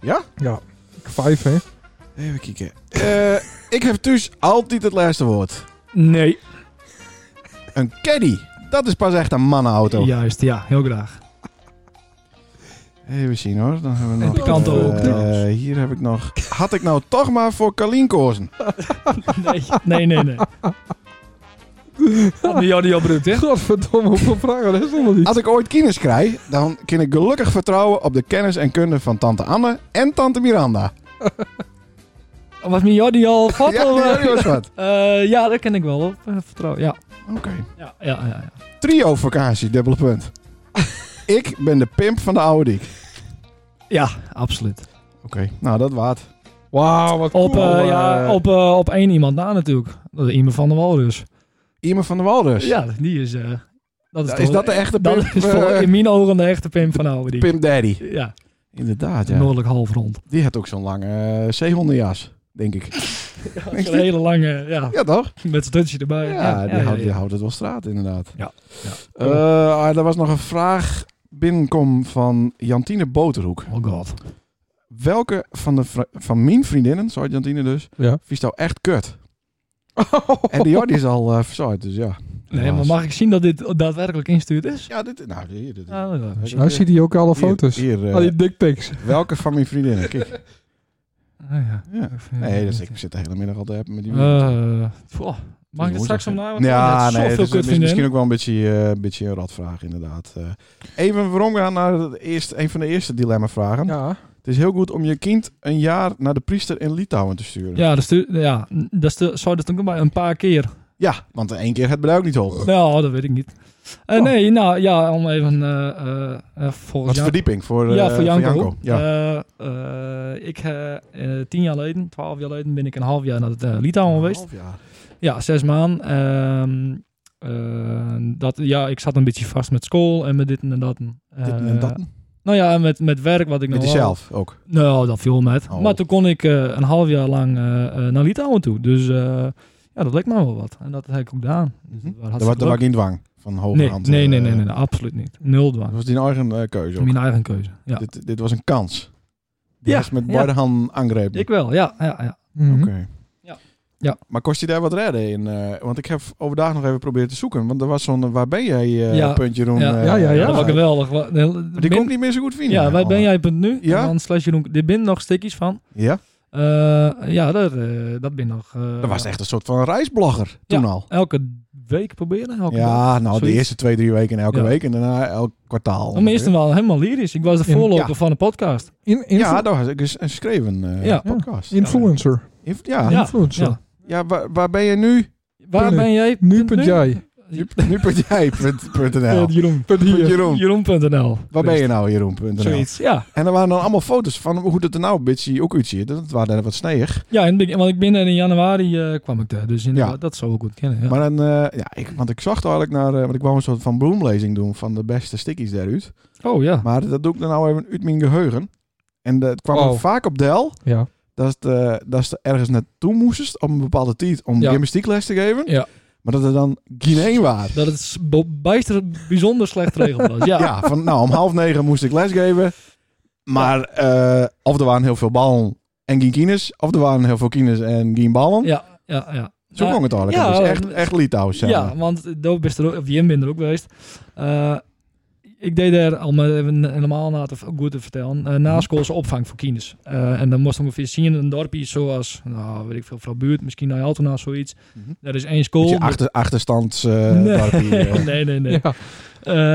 S1: Ja?
S2: Ja. Ik vijf, hè.
S1: Even kijken. Eh, ik heb thuis altijd het laatste woord.
S4: Nee.
S1: Een caddy. Dat is pas echt een mannenauto.
S4: Juist, ja. Heel graag.
S1: Even zien hoor. Dan hebben we
S4: En
S1: nog.
S4: die kant
S1: eh,
S4: ook, trouwens.
S1: hier heb ik nog. Had ik nou toch maar voor Kalien kozen?
S4: Nee, nee, nee. nee. Had me Jordi opruimt, hè?
S2: Godverdomme, hoeveel vragen dat is er nog niet?
S1: Als ik ooit kinders krijg, dan kan ik gelukkig vertrouwen op de kennis en kunde van tante Anne en tante Miranda.
S4: Was me Jordi al vat?
S1: ja,
S4: of, eh?
S1: dat was wat.
S4: Eh, ja, dat ken ik wel. Op, eh, vertrouwen. Ja.
S1: Oké.
S4: Ja, ja, ja. ja.
S1: Trio vakantie, dubbele punt. ik ben de pimp van de oude dik.
S4: Ja, absoluut.
S1: Oké, nou dat waard.
S2: Wauw, wat
S4: Op,
S2: cool.
S4: eh,
S2: eh.
S4: ja, op, eh, op één iemand na natuurlijk. Dat is iemand van de Walrus.
S1: Iemand van de Walrus.
S4: Ja, die is... eh, dat is,
S1: dus- Is,
S4: toch-
S1: dat de echte
S4: Dat
S1: pimp?
S4: is
S1: eh,
S4: voor, in mijn ogen de echte pimp van Audi.
S1: pimp daddy.
S4: Ja,
S1: Inderdaad,
S4: ja.
S1: ja.
S4: noordelijk halfrond.
S1: Die had ook zo'n lange eh, zeehondenjas, denk ik.
S4: Dat is een hele lange, ja,
S1: Ja, toch?
S4: met zijn dutje
S1: Ja,
S4: erbij.
S1: die, houdt, die houdt het wel straat, inderdaad.
S4: Ja, ja.
S1: Eh, ah, er was nog een vraag binnenkom van Jantine Boterhoek.
S4: Oh god.
S1: Welke van, de vri- van mijn vriendinnen, sorry Jantine dus,
S2: Ja.
S1: vies nou echt kut? En die Jordi is al eh verzorgd, dus ja.
S4: Nee, maar mag ik zien dat dit daadwerkelijk instuurd is? Ah,
S1: Ja, dit... Nou, hier, dit,
S4: Ja, dat is
S2: Nou ziet hij ook alle
S1: Hier,
S2: foto's.
S1: Hier, eh,
S2: Al die dickpics.
S1: welke van mijn vriendinnen? Kijk.
S4: Ah, ja.
S1: Ja. Nee, dus ik zit de hele middag al te hebben met die...
S4: Eh, pooh, mag ik het straks
S1: om
S4: omlaag?
S1: Ja, nee, het
S4: zoveel
S1: is,
S4: kut
S1: het is misschien
S4: vinden.
S1: ook wel een beetje, eh, een beetje een rotvraag, inderdaad. Eh, even waarom gaan naar het eerste, een van de eerste dilemma-vragen.
S2: Ja.
S1: Het is heel goed om je kind een jaar naar de priester in Litouwen te sturen.
S4: Ja, dat, stu- ja, dat stu- zou dat ook maar een paar keer
S1: Ja, want één keer het beduik niet hoog.
S4: Nou, dat weet ik niet. Eh,
S1: Oh.
S4: Nee, nou ja, om even eh, eh, eh, volgens
S1: Wat
S4: jou-
S1: verdieping voor, eh,
S4: ja,
S1: voor
S4: voor Janko.
S1: Ja.
S4: Eh, eh, ik, eh, eh, tien jaar geleden, twaalf jaar geleden, ben ik een half jaar naar het eh, Litouwen geweest.
S1: Half jaar.
S4: Ja, zes maanden. Ehm, eh, dat, ja, ik zat een beetje vast met school en met dit en dat.
S1: Dit
S4: Eh,
S1: en dat.
S4: Nou ja, en met, met werk wat ik
S1: Met
S4: nog
S1: die
S4: wel-
S1: zelf ook.
S4: Nou, dat viel met.
S1: Oh.
S4: Maar toen kon ik eh, een half jaar lang eh, eh, naar Litouwen toe. Dus eh, ja, dat leek me wel wat. En dat heb ik ook gedaan. Dus dat was
S1: Mhm. Hm? Daar was
S4: hartstikke
S1: daar was
S4: leuk.
S1: geen dwang van hoge
S4: nee,
S1: hand.
S4: nee,
S1: eh,
S4: nee, nee, nee, nee, absoluut niet. Nul dwang.
S1: Dat was die eigen eh, keuze ook.
S4: Mijn eigen keuze. Ja.
S1: Dit, dit was een kans. Die
S4: Ja,
S1: was met
S4: ja.
S1: beide handen aangrepen.
S4: Ik wel, ja. ja, ja.
S2: Mhm.
S1: Oké.
S4: Ja. Hm? Ja.
S1: Maar kost je daar wat redden in? eh, want ik heb overdag nog even proberen te zoeken. Want er was zo'n eh, waar ben jij eh,
S4: Ja.
S1: puntje rond.
S4: Ja.
S1: eh,
S2: Ja, ja, Oh. ja.
S4: dat was
S1: Maar
S4: geweldig. Wa- nee,
S1: die
S4: bin-
S1: kon ik niet meer zo goed vinden.
S4: ja, wij ben
S1: allemaal.
S4: jij punt nu.
S1: Ja.
S4: En dan slash Jeroen. Er bin nog stukjes van.
S1: Ja?
S4: Eh, ja, dat, eh, dat ben nog. eh,
S1: Dat was echt een soort van reisblogger toen al.
S4: Elke week proberen. Elke dag.
S1: Ja, nou de
S4: zoiets.
S1: eerste twee, drie weken elke
S4: Ja.
S1: week en daarna elk kwartaal.
S4: Maar eerst en wel helemaal lyrisch. Ik was de
S2: In-
S4: voorloper
S1: ja.
S4: van de podcast.
S2: In, influ-
S1: Ja, daar was ik eens een schreven eh,
S4: Ja.
S1: podcast.
S2: influencer.
S1: Inf- Ja, ja.
S4: Ja.
S2: influencer.
S4: ja.
S1: waar, waar ben je nu?
S4: Waar
S2: Nu.
S4: ben jij?
S2: Nu punt jij.
S4: Nu-
S1: Nu.jij.nl
S4: Eh, Jeroen.
S1: Punt Jeroen.
S4: Jeroen.nl.
S1: Waar ben je nou, Jeroen.nl?
S4: Zoiets, ja.
S1: En er waren dan allemaal foto's van hoe dat er nou een beetje ook uitziet. Dat waren dan wat sneeuwig.
S4: Ja, in het begin, want ik ben er in januari eh, kwam ik daar. Dus inderdaad,
S1: Ja.
S4: dat zou ik goed kennen. Ja.
S1: Maar dan, eh, ja, ik, want ik zag er eigenlijk naar, eh, want ik wou een soort van bloemlezing doen van de beste stickies daaruit.
S4: oh ja.
S1: Maar dat doe ik dan nou even uit mijn geheugen. En dat kwam
S2: Oh.
S1: er vaak op del
S2: Ja.
S1: dat het, eh, dat ze ergens naartoe moesten om een bepaalde tijd om
S4: Ja.
S1: gymnastiekles te geven.
S4: Ja.
S1: Maar dat er dan geen één was.
S4: Dat het bo- bijster, bijzonder slecht geregeld was. Ja.
S1: Ja, van nou, om half negen moest ik lesgeven. Maar eh, of er waren heel veel ballen en geen kines. Of er waren heel veel kines en geen ballen.
S4: ja, ja, ja.
S1: Zo
S4: Ja,
S1: kon het eigenlijk.
S4: ja,
S1: dus echt,
S4: eh,
S1: echt Litouws. zeg maar.
S4: Ja, want daar best er ook, of Jim ben er ook geweest. Eh, ik deed er, om het even normaal na te, goed te vertellen, eh na schoolse opvang voor kinders. Eh, en dan moest je ongeveer zien, een dorpje zoals, nou weet ik veel, van buurt, misschien naar Altona, zoiets.
S1: Mhm.
S4: Daar is één school.
S1: Beetje
S4: met-
S1: achter, achterstands... eh, dorpie, eh.
S4: nee, nee, nee.
S2: Ja.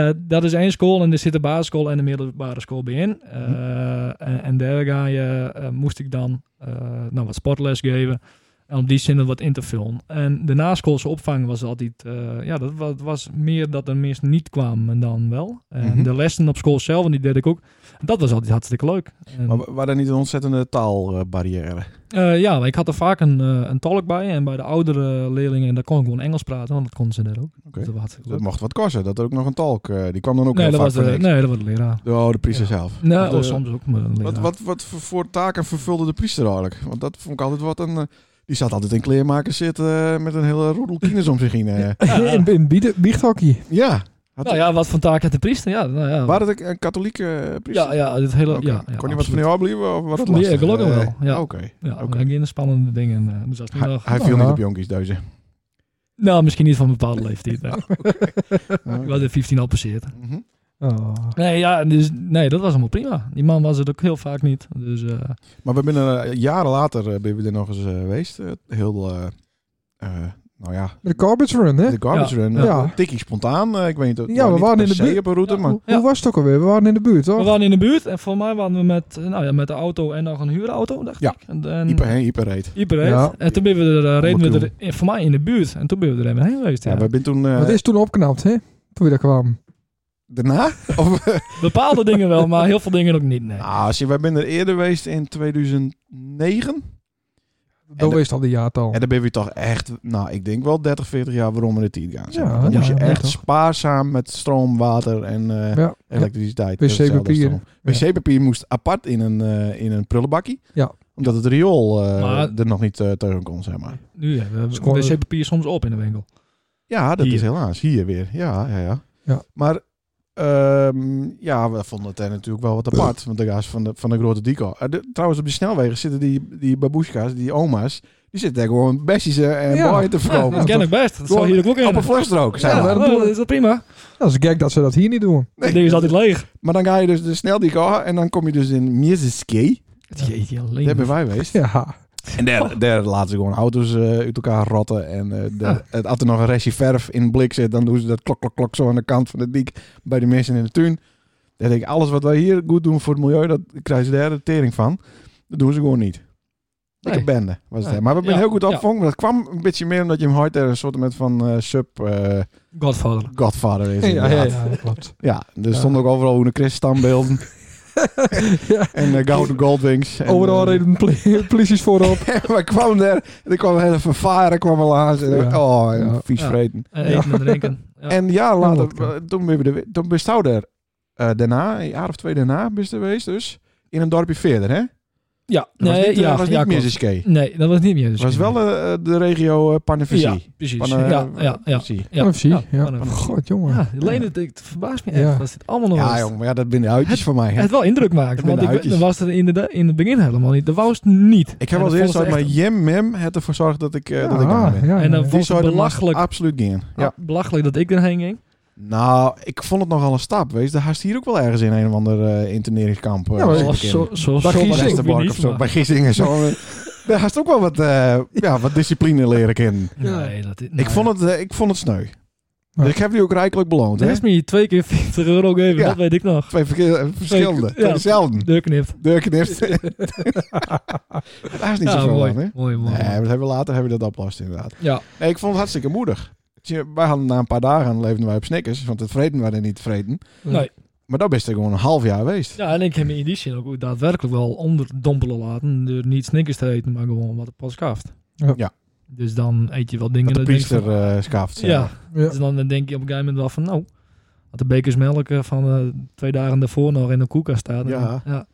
S4: Eh, dat is één school en er zit de basisschool en de middelbare school bij in. Eh,
S1: Mhm.
S4: en, en daar ga je, eh, moest ik dan eh, nou, wat sportles geven. En op die zin er wat in te vullen. En de naschoolse opvang was altijd... eh, ja, dat was, was meer dat er mensen niet kwamen dan wel. En
S1: Mhm.
S4: de lessen op school zelf, en die deed ik ook. Dat was altijd hartstikke leuk. En,
S1: Maar wa- waren er niet een ontzettende taalbarrière?
S4: eh, ja, maar ik had er vaak een, eh, een tolk bij. En bij de oudere leerlingen, daar kon ik gewoon Engels praten. Want dat konden ze daar ook. Dus dat was hartstikke
S1: dat
S4: leuk.
S1: mocht wat kosten. Dat er ook nog een talk... eh, die kwam dan ook
S4: Nee,
S1: heel
S4: dat
S1: vaak
S4: was de,
S1: voor niks.
S4: nee, dat was de leraar.
S1: Oh, de priester
S4: Ja.
S1: zelf.
S4: Nou,
S1: Want, eh,
S4: oh, soms ook maar een
S1: Wat,
S4: leraar.
S1: wat, wat voor, voor taken vervulde de priester eigenlijk? Want dat vond ik altijd wat een... eh, die zat altijd in kleermakers zitten eh, met een hele roedel kines om zich heen. eh.
S2: In, in biede- biechthokkie.
S1: Ja. Had,
S4: Nou ja, wat van taak heeft de priester? Ja, nou ja.
S1: Waren het een katholieke eh, priester?
S4: ja, ja, dit hele...
S1: Oké.
S4: Ja, ja,
S1: Kon je
S4: absoluut.
S1: wat van jou afblijven? Of was het
S4: Nee,
S1: lastig?
S4: gelukkig
S1: Eh,
S4: wel, ja.
S1: Oké.
S4: Ja,
S1: Oké.
S4: ik in spannende dingen. eh, Dus dat is niet
S1: Hij,
S4: wel-
S1: hij
S4: nou,
S1: viel
S2: ja.
S1: niet op jonkies, deuze.
S4: Nou, misschien niet van een bepaalde leeftijd. nee. Ik was
S1: Mhm.
S4: de 15 al passeerd.
S2: Oh.
S4: Nee, ja, dus, nee, dat was allemaal prima. Die man was het ook heel vaak niet. Dus eh,
S1: Maar we zijn er, eh, jaren later eh, ben we er nog eens eh, geweest. Eh, heel, eh, eh, nou ja,
S2: De garbage run, hè?
S1: de garbage run.
S2: Ja.
S1: Ja. Tikkie spontaan. eh, ik weet niet.
S2: Ja, we waren in de buurt.
S1: buurt. op een route,
S4: Ja.
S1: maar...
S4: Ja.
S2: Hoe was het ook alweer? We waren in de buurt,
S4: we
S2: hoor.
S4: waren in de buurt. En voor mij waren we met, eh, nou ja, met de auto en nog een huurauto, dacht
S1: Ja.
S4: ik. En, en,
S1: Hyper heen, hyper reed.
S4: Hyper heet.
S2: Ja.
S4: En toen ben we er, eh, reden we
S1: Onderkoel.
S4: er in- voor mij in de buurt. En toen ben we er even heen geweest.
S1: Ja,
S4: Ja.
S1: we zijn toen... eh,
S2: Dat is toen opgeknapt, hè? Toen we daar kwamen.
S1: Daarna? Of, eh,
S4: Bepaalde dingen wel, maar heel veel dingen ook niet. Nee.
S1: nou, zie, wij zijn er eerder geweest in 2009.
S2: Dat
S1: de-
S2: was al die jaartal.
S1: En dan ben je toch echt, nou, ik denk wel 30, 40 jaar waarom in de tijd gaan. zeg
S2: Ja,
S1: maar. dan
S2: ja,
S1: moet je
S2: ja,
S1: echt
S2: toch.
S1: spaarzaam met stroom, water en eh,
S2: Ja.
S1: elektriciteit.
S2: Wc-papier.
S1: Hetzelfde als stroom.
S2: Ja.
S1: Wc-papier moest apart in een, eh, in een prullenbakkie.
S2: Ja.
S1: Omdat het riool eh,
S4: Maar-
S1: er nog niet eh, tegen kon, zeg maar.
S4: Nu hebben we
S2: Scoren-
S4: wc-papier soms op in de winkel.
S1: Ja, dat
S4: Hier.
S1: is helaas. Hier weer. Ja, ja, ja.
S2: Ja.
S1: Maar ehm, ja, we vonden het er natuurlijk wel wat apart. Want de gaas van de, van de grote dico. Eh, de- trouwens, op de snelwegen zitten die, die baboeska's, die oma's. Die zitten daar gewoon besties eh, en
S2: Ja.
S1: boeien te
S4: Ja,
S1: verkopen.
S4: dat ken ik best. Dat zal
S1: Gewoon
S4: hier ook wel
S1: Op
S4: kennen.
S1: een flashstrook zijn
S4: Ja,
S1: we.
S2: dat
S4: nou,
S2: doen we.
S4: dat is wel prima.
S2: Dat is gek dat ze dat hier niet doen.
S4: Dat ding is altijd leeg.
S1: Maar dan ga je dus de snel die gaan en dan kom je dus in Miezeski.
S4: Jeetje, alleen.
S1: Daar ben wij geweest.
S2: Ja.
S1: En daar, daar Oh. laten ze gewoon auto's eh, uit elkaar rotten. En eh,
S2: Ah.
S1: daar- het, als er nog een restje verf in blik zit, dan doen ze dat klok, klok, klok zo aan de kant van de dik bij de mensen in de tuin. Dan denk ik, alles wat wij hier goed doen voor het milieu, dat krijgen ze daar de tering van. Dat doen ze gewoon niet. Lekker
S4: Nee.
S1: bende was het.
S4: Nee.
S1: Maar we hebben
S4: Ja,
S1: heel goed
S4: ja.
S1: opgevangen. Maar dat kwam een beetje meer omdat je hem hard er een soort met van eh, sub eh,
S4: Godfather.
S1: Godfather is.
S2: Ja,
S1: inderdaad.
S2: ja,
S1: Ja,
S2: ja, dat klopt.
S1: er stonden ook overal hoe een standbeelden
S2: Ja.
S1: en eh, Gouden Goldwings. En,
S2: Overal
S1: eh,
S2: reden poli- polities voorop.
S1: maar ik kwam daar en ik kwam hele vervaren kwam al aan. En,
S2: Ja.
S1: Oh, en
S2: Ja.
S1: vies
S4: Ja.
S1: vreten.
S4: Eh, eten en drinken. Ja.
S1: En ja,
S2: dat
S1: later,
S2: kan.
S1: eh, toen, ben je de, toen ben je er eh, daarna, een jaar of twee daarna, ben je er geweest dus. In een dorpje verder, hè?
S4: ja,
S1: Dat was niet,
S4: nee,
S1: eh,
S4: ja,
S1: was niet
S4: ja,
S1: meer
S4: klopt.
S1: Ziske.
S4: Nee, dat was niet meer.
S1: Het was wel eh, de regio eh Pannevisie.
S4: Ja, precies.
S1: Pan- eh,
S4: ja, ja, ja.
S1: Pannevisie.
S4: Ja,
S2: Ja, Oh, zie.
S4: ja,
S2: Ja.
S4: maar-
S2: God, jongen.
S4: Ja, alleen het, het verbaast me echt
S2: Ja.
S4: dat dit allemaal nog
S1: Ja,
S4: eens-
S1: jong, maar ja, dat binnen de uitjes voor mij. hè.
S4: Het wel indruk maakt,
S1: Het met
S4: want ik,
S1: uitjes.
S4: dan was het in, de, in het begin helemaal niet. De was niet.
S1: Ik heb
S4: En
S1: als
S4: dat
S1: eerste
S4: vond
S1: uit
S4: ze
S1: mijn
S4: echt-
S1: Jim Mem het ervoor zorgd dat ik, eh,
S2: Ja,
S1: dat ik aan ben.
S2: Ah, ja,
S4: En dan
S2: ja.
S4: vond
S1: Die
S4: ze
S1: zou er
S4: belachelijk,
S1: absoluut gaan. Ja.
S4: belachelijk dat ik erheen ging.
S1: Nou, ik vond het nogal een stap. Wees, daar haast hier ook wel ergens in een of ander eh, interneringskamp. eh,
S2: Ja, maar
S1: zit
S4: Of
S1: ik in.
S4: zo, zo,
S1: Bij
S4: zo was het
S1: Giesing,
S4: ook weer
S1: of
S4: niet,
S1: zo.
S4: maar-
S1: Bij Giesing en zo. eh, Daar haast ook wel wat, eh, ja, wat discipline leren kennen.
S4: Nee, dat is...
S1: Ik, vond het, eh, ik vond het sneu.
S2: Ja.
S1: Dus ik heb die ook rijkelijk beloond.
S4: Er
S1: Hè?
S4: is me hier twee keer 40 euro gegeven,
S1: Ja.
S4: dat weet ik nog.
S1: Twee verkeer- eh, verschillende.
S4: Ja.
S1: Twee dezelfde.
S4: Deurknipt.
S1: Deurknipt. Daar is niet
S4: Ja,
S1: zoveel
S4: mooi.
S1: aan, hè?
S4: Mooi, mooi.
S1: Nee,
S4: mooi.
S1: maar dat hebben we later hebben we dat oplost, inderdaad.
S4: Ja,
S1: Nee, ik vond het hartstikke moedig. Zie je, Wij hadden na een paar dagen leefden wij op Snickers, want het vreten waren niet vreten.
S4: Nee.
S1: Maar dat best gewoon een half jaar geweest.
S4: ja, en ik heb me in die zin ook daadwerkelijk wel onderdompelen laten. Door niet snickers te eten, maar gewoon wat er pas kaft.
S2: Ja.
S1: Ja.
S4: Dus dan eet je wel dingen...
S1: Dat de
S4: dan denk je
S1: priester
S4: van-
S1: eh skaaft. zeg
S4: Ja,
S1: maar.
S2: Ja.
S4: dus dan denk je op een gegeven moment wel van... Nou, had de bekers melk eh, van eh, twee dagen daarvoor nog in de koelkast staan.
S1: Ja.
S4: ja.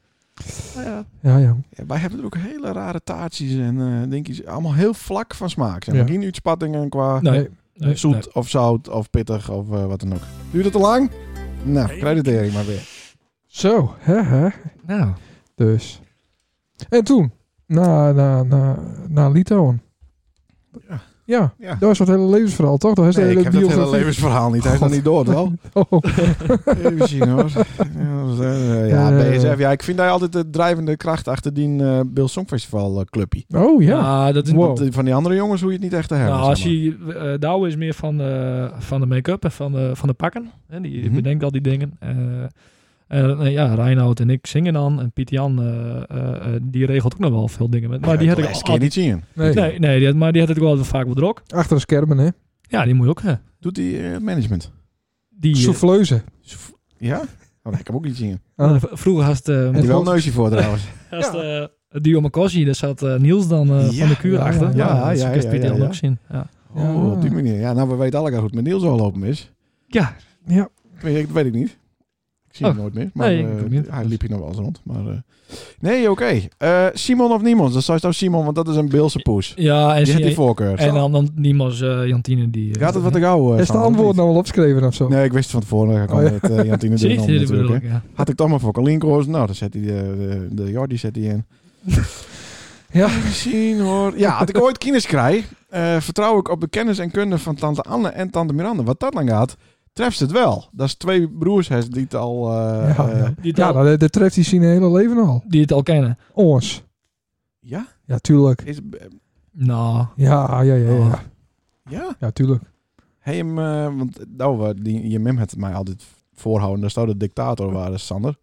S4: Nou ja.
S2: Ja, ja.
S1: Ja, wij hebben er ook hele rare taartjes en eh dingetjes. Allemaal heel vlak van smaak. Zeg maar.
S2: Ja.
S1: Geen uitspattingen qua
S4: Nee.
S2: Nee.
S4: nee,
S1: zoet
S4: nee.
S1: of zout of pittig of eh, wat dan ook. Duurt het te lang? Nou, creditering maar weer.
S2: Zo, hè, hè.
S4: Nou,
S2: Dus. En toen, na, na, na, na Litouwen.
S1: Ja.
S2: Ja,
S1: Ja.
S2: dat is dat hele levensverhaal, toch? Dat is de
S1: Nee, ik
S2: hele
S1: heb dat hele
S2: biografie.
S1: levensverhaal niet. Hij is nog
S2: God.
S1: niet door, wel?
S2: Oh,
S1: Even zien hoor. Ja, dat is, eh, Ja,
S2: Eh.
S1: BSF. Ja, ik vind daar altijd de drijvende kracht achter die eh Bill Songfestival eh, clubje.
S2: oh ja.
S4: ja, Ah, dat is
S2: Wow.
S1: Want, eh, Van die andere jongens hoe je het niet echt te hebben.
S4: Nou, als
S1: zeg maar.
S4: je, eh Douwe is meer van de, van de make-up en van de, van de pakken. Hè? Die
S1: Mhm.
S4: bedenkt al die dingen. Eh, en, eh, ja, Reinoud en ik zingen dan. En Piet Jan, eh, eh, eh, die regelt ook nog wel veel dingen. Met, maar
S1: Ja,
S4: die had
S1: de
S4: ik
S1: laatste
S4: al-
S1: keer niet zien.
S2: Nee.
S4: Nee, nee die had, maar die had ik wel altijd vaak op de rok.
S2: Achter de schermen, hè.
S4: Ja, die moet je ook. eh,
S1: Doet die eh, management?
S4: die, eh,
S2: Souffleuze.
S1: Ja? Oh, nee, ik heb ook niet zien.
S2: Ah.
S4: v- vroeger had eh
S1: Die wel een
S4: had,
S1: neusje voor trouwens.
S4: het, eh, het duo Makosi, daar zat eh, Niels dan eh,
S1: Ja,
S4: van de kuur
S2: ja,
S4: achter.
S1: ja,
S4: dat
S1: ja,
S4: is
S1: ja,
S4: Piet
S1: ja,
S4: Jan
S1: ja.
S4: ook zien. Ja.
S1: Oh, op die manier. Ja, nou, we weten allemaal hoe het met Niels al lopen is.
S4: ja,
S1: Weet ik- Dat weet ik niet. Ik zie
S4: Oh.
S1: hem nooit meer. Maar,
S4: Nee, ik
S1: eh,
S4: ook niet.
S1: Hij liep hier nog wel eens rond. Maar, eh. Nee, oké. Eh, Simon of niemand? Dat zou je nou Simon, want dat is een Beelse poes.
S4: ja en,
S1: Die heeft
S4: zie-
S1: die voorkeur.
S4: en dan, dan Niemals eh, Jantine. Die, eh,
S1: Gaat het wat ik hou? eh,
S2: Is de
S1: Sander, of
S2: antwoord
S1: niet?
S2: nou al opgeschreven of zo?
S1: Nee, ik wist van tevoren. Ik kan
S2: Oh, ja.
S1: het eh, Jantine
S4: Zie
S1: doen.
S4: je,
S1: om
S4: die
S1: natuurlijk,
S4: bedoel
S1: hè.
S4: ik, ja.
S1: Had ik dan maar voor Kalien gekozen. Nou, dan zet hij de, de, de Jordi zet hij in.
S2: Ja.
S1: Even zien hoor. Ja, had ik ooit kines krijg, eh, vertrouw ik op de kennis en kunde van tante Anne en tante Miranda. Wat dat dan gaat, treft het wel. Dat is twee broers hè, die het al... eh,
S2: ja,
S1: eh, ja.
S2: ja.
S4: Die het
S2: ja
S4: al-
S2: dat, dat treft hij zijn hele leven al.
S4: Die het al kennen.
S2: Ons. Ja, tuurlijk.
S1: Is,
S4: Nou,
S2: Ja, ja, ja, ja.
S4: Oh.
S2: Ja,
S1: ja?
S2: ja tuurlijk.
S1: Hey, hem, eh, want nou, eh, die, je mem het mij altijd voorhouden. Dat zou de dictator waren, Sander.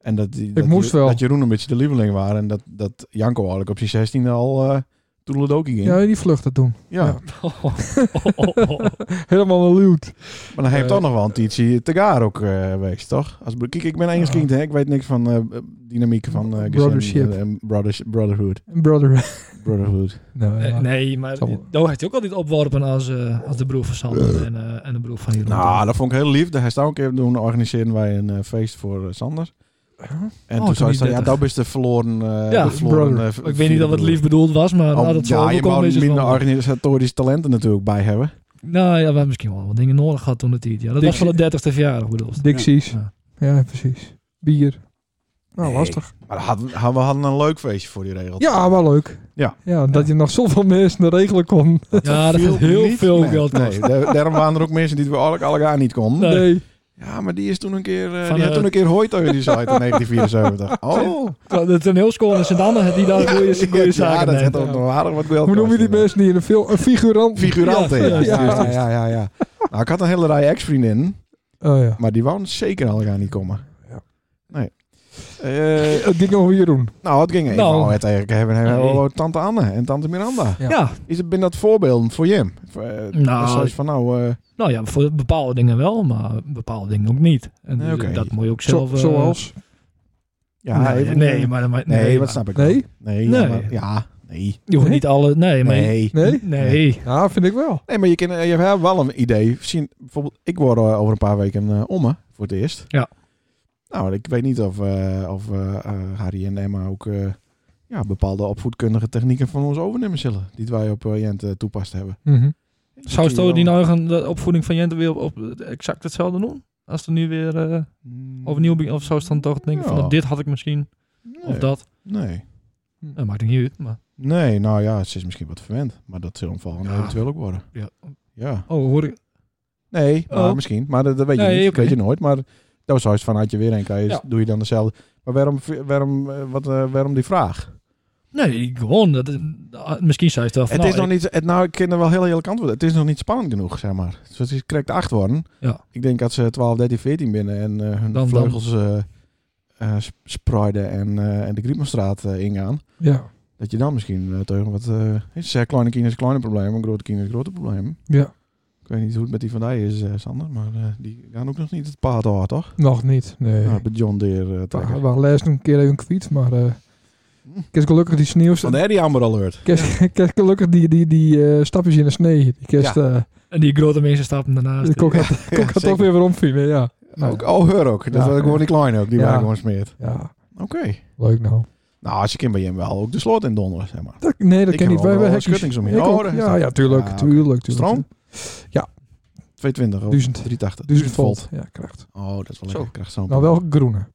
S1: En dat, die, dat,
S2: moest
S1: Jeroen-
S2: wel.
S1: dat Jeroen een beetje de lieveling waren. En dat, dat Janko eigenlijk op zijn 16 al eh toedeledokie ging.
S2: Ja, die vlucht dat doen.
S1: ja.
S4: Oh, oh, oh, oh.
S2: Helemaal een luwt.
S1: Maar dan heeft
S4: Eh,
S1: toch nog wel een Tietje Tegaar ook eh geweest, toch? Als, kijk, ik ben Engels
S4: Ja.
S1: kind, hè? Ik weet niks van eh dynamiek van eh, gezin
S2: Brothership.
S1: en- en brothers, brotherhood.
S2: Brother.
S1: Brotherhood.
S2: Nou,
S4: Eh,
S2: ja.
S4: Nee, maar
S2: Zal-
S4: Do heeft hij ook altijd opworpen als, eh, als de broer van Sander en, eh, en de broer van Jeroen.
S1: Nou, dat vond ik heel lief. Daar is daar ook een keer doen organiseren wij een eh, feest voor eh, Sander. En
S4: Oh,
S1: toen zei
S4: toen
S1: ze, ja,
S4: 30.
S1: dat is de verloren... eh,
S4: Ja,
S1: de verloren
S2: brother.
S1: eh,
S4: ik weet niet of het
S1: broer.
S4: lief bedoeld was, maar
S1: Oh,
S4: nou, dat zou
S1: ja,
S4: ook
S1: je
S4: wel
S1: moet
S4: een beetje
S1: minder
S4: van-
S1: organisatorische talenten natuurlijk bij hebben.
S4: Nou ja, we hebben misschien wel wat dingen nodig gehad toen het hier. Ja, dat
S2: Dixie-
S4: was van de 30ste verjaardag bedoeld.
S2: Dixies.
S4: Ja.
S2: Ja. precies. Bier. Nou,
S1: Nee.
S2: lastig.
S1: Maar dat hadden- hadden- we hadden een leuk feestje voor die regel.
S2: Ja, wel leuk.
S1: Ja.
S2: ja dat je nog zoveel mensen naar regelen kon.
S4: Ja, dat
S1: Viel
S4: heeft heel
S1: niet
S4: veel
S1: mee.
S4: geld kost.
S1: Nee, daar- daarom waren er ook mensen die we eigenlijk allemaal niet konden.
S4: Nee.
S2: Nee.
S1: Ja, maar die is toen een keer. eh,
S4: Van,
S1: die had
S4: eh,
S1: toen een keer Hoyteu die site in 1974. Oh,
S4: De toneelschool in Sint-Anne, die daar goede, goede
S1: ja,
S4: zaken
S1: dat had
S4: neemt.
S1: ook nog aardig wat geld.
S2: Hoe noem je die
S1: kost,
S2: mensen die in een film... Een figurant.
S1: Figurant,
S4: Ja,
S1: hè? ja,
S4: juist,
S1: ja,
S4: juist,
S1: ja,
S4: juist.
S1: ja, ja. Nou, ik had een hele rij ex-vriendinnen,
S2: Oh ja.
S1: maar die wou zeker al gaan niet komen.
S2: Ja.
S1: Nee. Eh,
S2: Het ging over Jeroen.
S1: nou, het ging even
S4: Nou.
S1: nou, het eigenlijk hebben. hebben we
S4: Nee.
S1: wel tante Anne en tante Miranda.
S2: Ja.
S4: Ja,
S1: Is het ben dat voorbeelden voor Jim? Voor, eh,
S4: Nou.
S1: zoals van nou, eh,
S4: nou ja, voor bepaalde dingen wel, maar bepaalde dingen ook niet. En
S1: Nee,
S4: dus
S1: oké.
S4: dat moet je ook
S2: Zo-
S4: zelf... eh,
S2: zoals?
S1: ja,
S4: nee,
S1: even-
S4: nee, maar... dat ma-
S1: nee,
S4: nee,
S1: wat
S4: maar-
S1: snap ik?
S2: Nee?
S1: wel. nee, ja,
S4: Nee.
S1: maar- ja, nee,
S4: Je hoeft
S2: Nee?
S4: niet alle... Nee, maar... Nee.
S1: nee.
S2: Nee?
S4: Nee.
S2: Ja, vind ik wel.
S1: Nee, maar je, kan, eh, je hebt wel een idee. Zien, bijvoorbeeld, ik word eh, over een paar weken eh, omme, voor het eerst.
S4: Ja.
S1: Nou, ik weet niet of, eh, of eh, eh, Harry en Emma ook eh, ja, bepaalde opvoedkundige technieken van ons overnemen zullen. Die wij op eh, Jent eh, toepast hebben.
S2: Mhm.
S4: Zou
S1: Zie je
S4: Sto die
S1: wel.
S4: nou gaan de opvoeding van Jente weer op, op exact hetzelfde doen? Als er nu weer eh, overnieuw... be- Of zou ze dan toch denken van...
S1: Mm. Ja.
S4: nou, dit had ik misschien...
S1: Nee,
S4: Of dat.
S1: Nee.
S4: Dat maakt het niet uit, maar...
S1: Nee, nou ja, ze is misschien wat verwend. Maar dat zal omvallen
S4: Ja.
S1: eventueel ook worden.
S4: Ja.
S1: Ja.
S4: Oh, hoor ik...
S1: Nee, maar
S4: Oh.
S1: misschien. Maar dat, dat weet je
S4: Nee,
S1: niet.
S4: oké.
S1: Weet je nooit. Maar dat was zoiets van, had je weer een, kan je,
S4: Ja.
S1: doe je dan dezelfde. Maar waarom, waarom, eh, wat, eh, waarom die vraag?
S4: Nee, gewoon. Dat, ah, misschien zei ze het wel van...
S1: Het is
S4: nou,
S1: nog
S4: ik-
S1: niet, het, nou, ik ken er wel heel eerlijk antwoord. Het is nog niet spannend genoeg, zeg maar. Dus het is correct 8 worden.
S4: Ja.
S1: Ik denk dat ze 12, 13, 14 binnen en eh, hun
S4: Dan-
S1: vleugels eh eh, sp- spreiden en, eh, en de Griepmanstraat eh, ingaan.
S2: Ja.
S1: Dat je dan misschien eh, tegen wat... eh is zeg, kleine kinderen is kleine probleem, een grote kinderen is grote probleem.
S2: Ja.
S1: Ik weet niet hoe het met die van die is, eh, Sander. Maar eh, die gaan ook nog niet het paard hard, toch?
S2: Nog niet. Nee.
S1: Ja, bij John Deere eh,
S2: we
S1: trekken.
S2: waren laatst een keer even kwiet, maar... eh
S1: Hm.
S2: ik heb gelukkig die sneeuw...
S1: Van de Eddie Amber Alert.
S2: Kerst, kerst gelukkig die, die, die eh, stapjes in de sneeuw. Die kerst, eh
S4: En die grote mensen stappen daarnaast.
S2: de kok had, kok had
S1: zeker.
S2: toch weer weer omvielen, ja. Nou,
S1: Ook, oh, her ook. Dat
S2: Ja.
S1: was gewoon die kleine ook. Die
S2: Ja.
S1: waren gewoon smeerd.
S2: ja,
S1: Oké.
S2: leuk nou.
S1: Nou, als je kind bij hem wel ook de sloot in donderen, zeg maar.
S2: Dat, nee, dat
S1: Ik
S2: ken
S1: heb
S2: niet. Wij
S1: wel
S2: hebben
S1: wel
S2: hekjes.
S1: schuttings omheen.
S2: Ik
S1: Oh,
S2: ook.
S1: daar is
S2: ja,
S1: dat.
S2: ja, tuurlijk,
S1: Ja, oké.
S2: tuurlijk, tuurlijk.
S1: Stroom?
S2: Ja.
S1: 220 of
S2: Duizend.
S1: 380.
S2: 1000 volt. Dus Ja, kracht.
S1: Oh, dat is wel
S4: Zo.
S1: lekker. Krijg zo'n
S2: Nou, wel groene.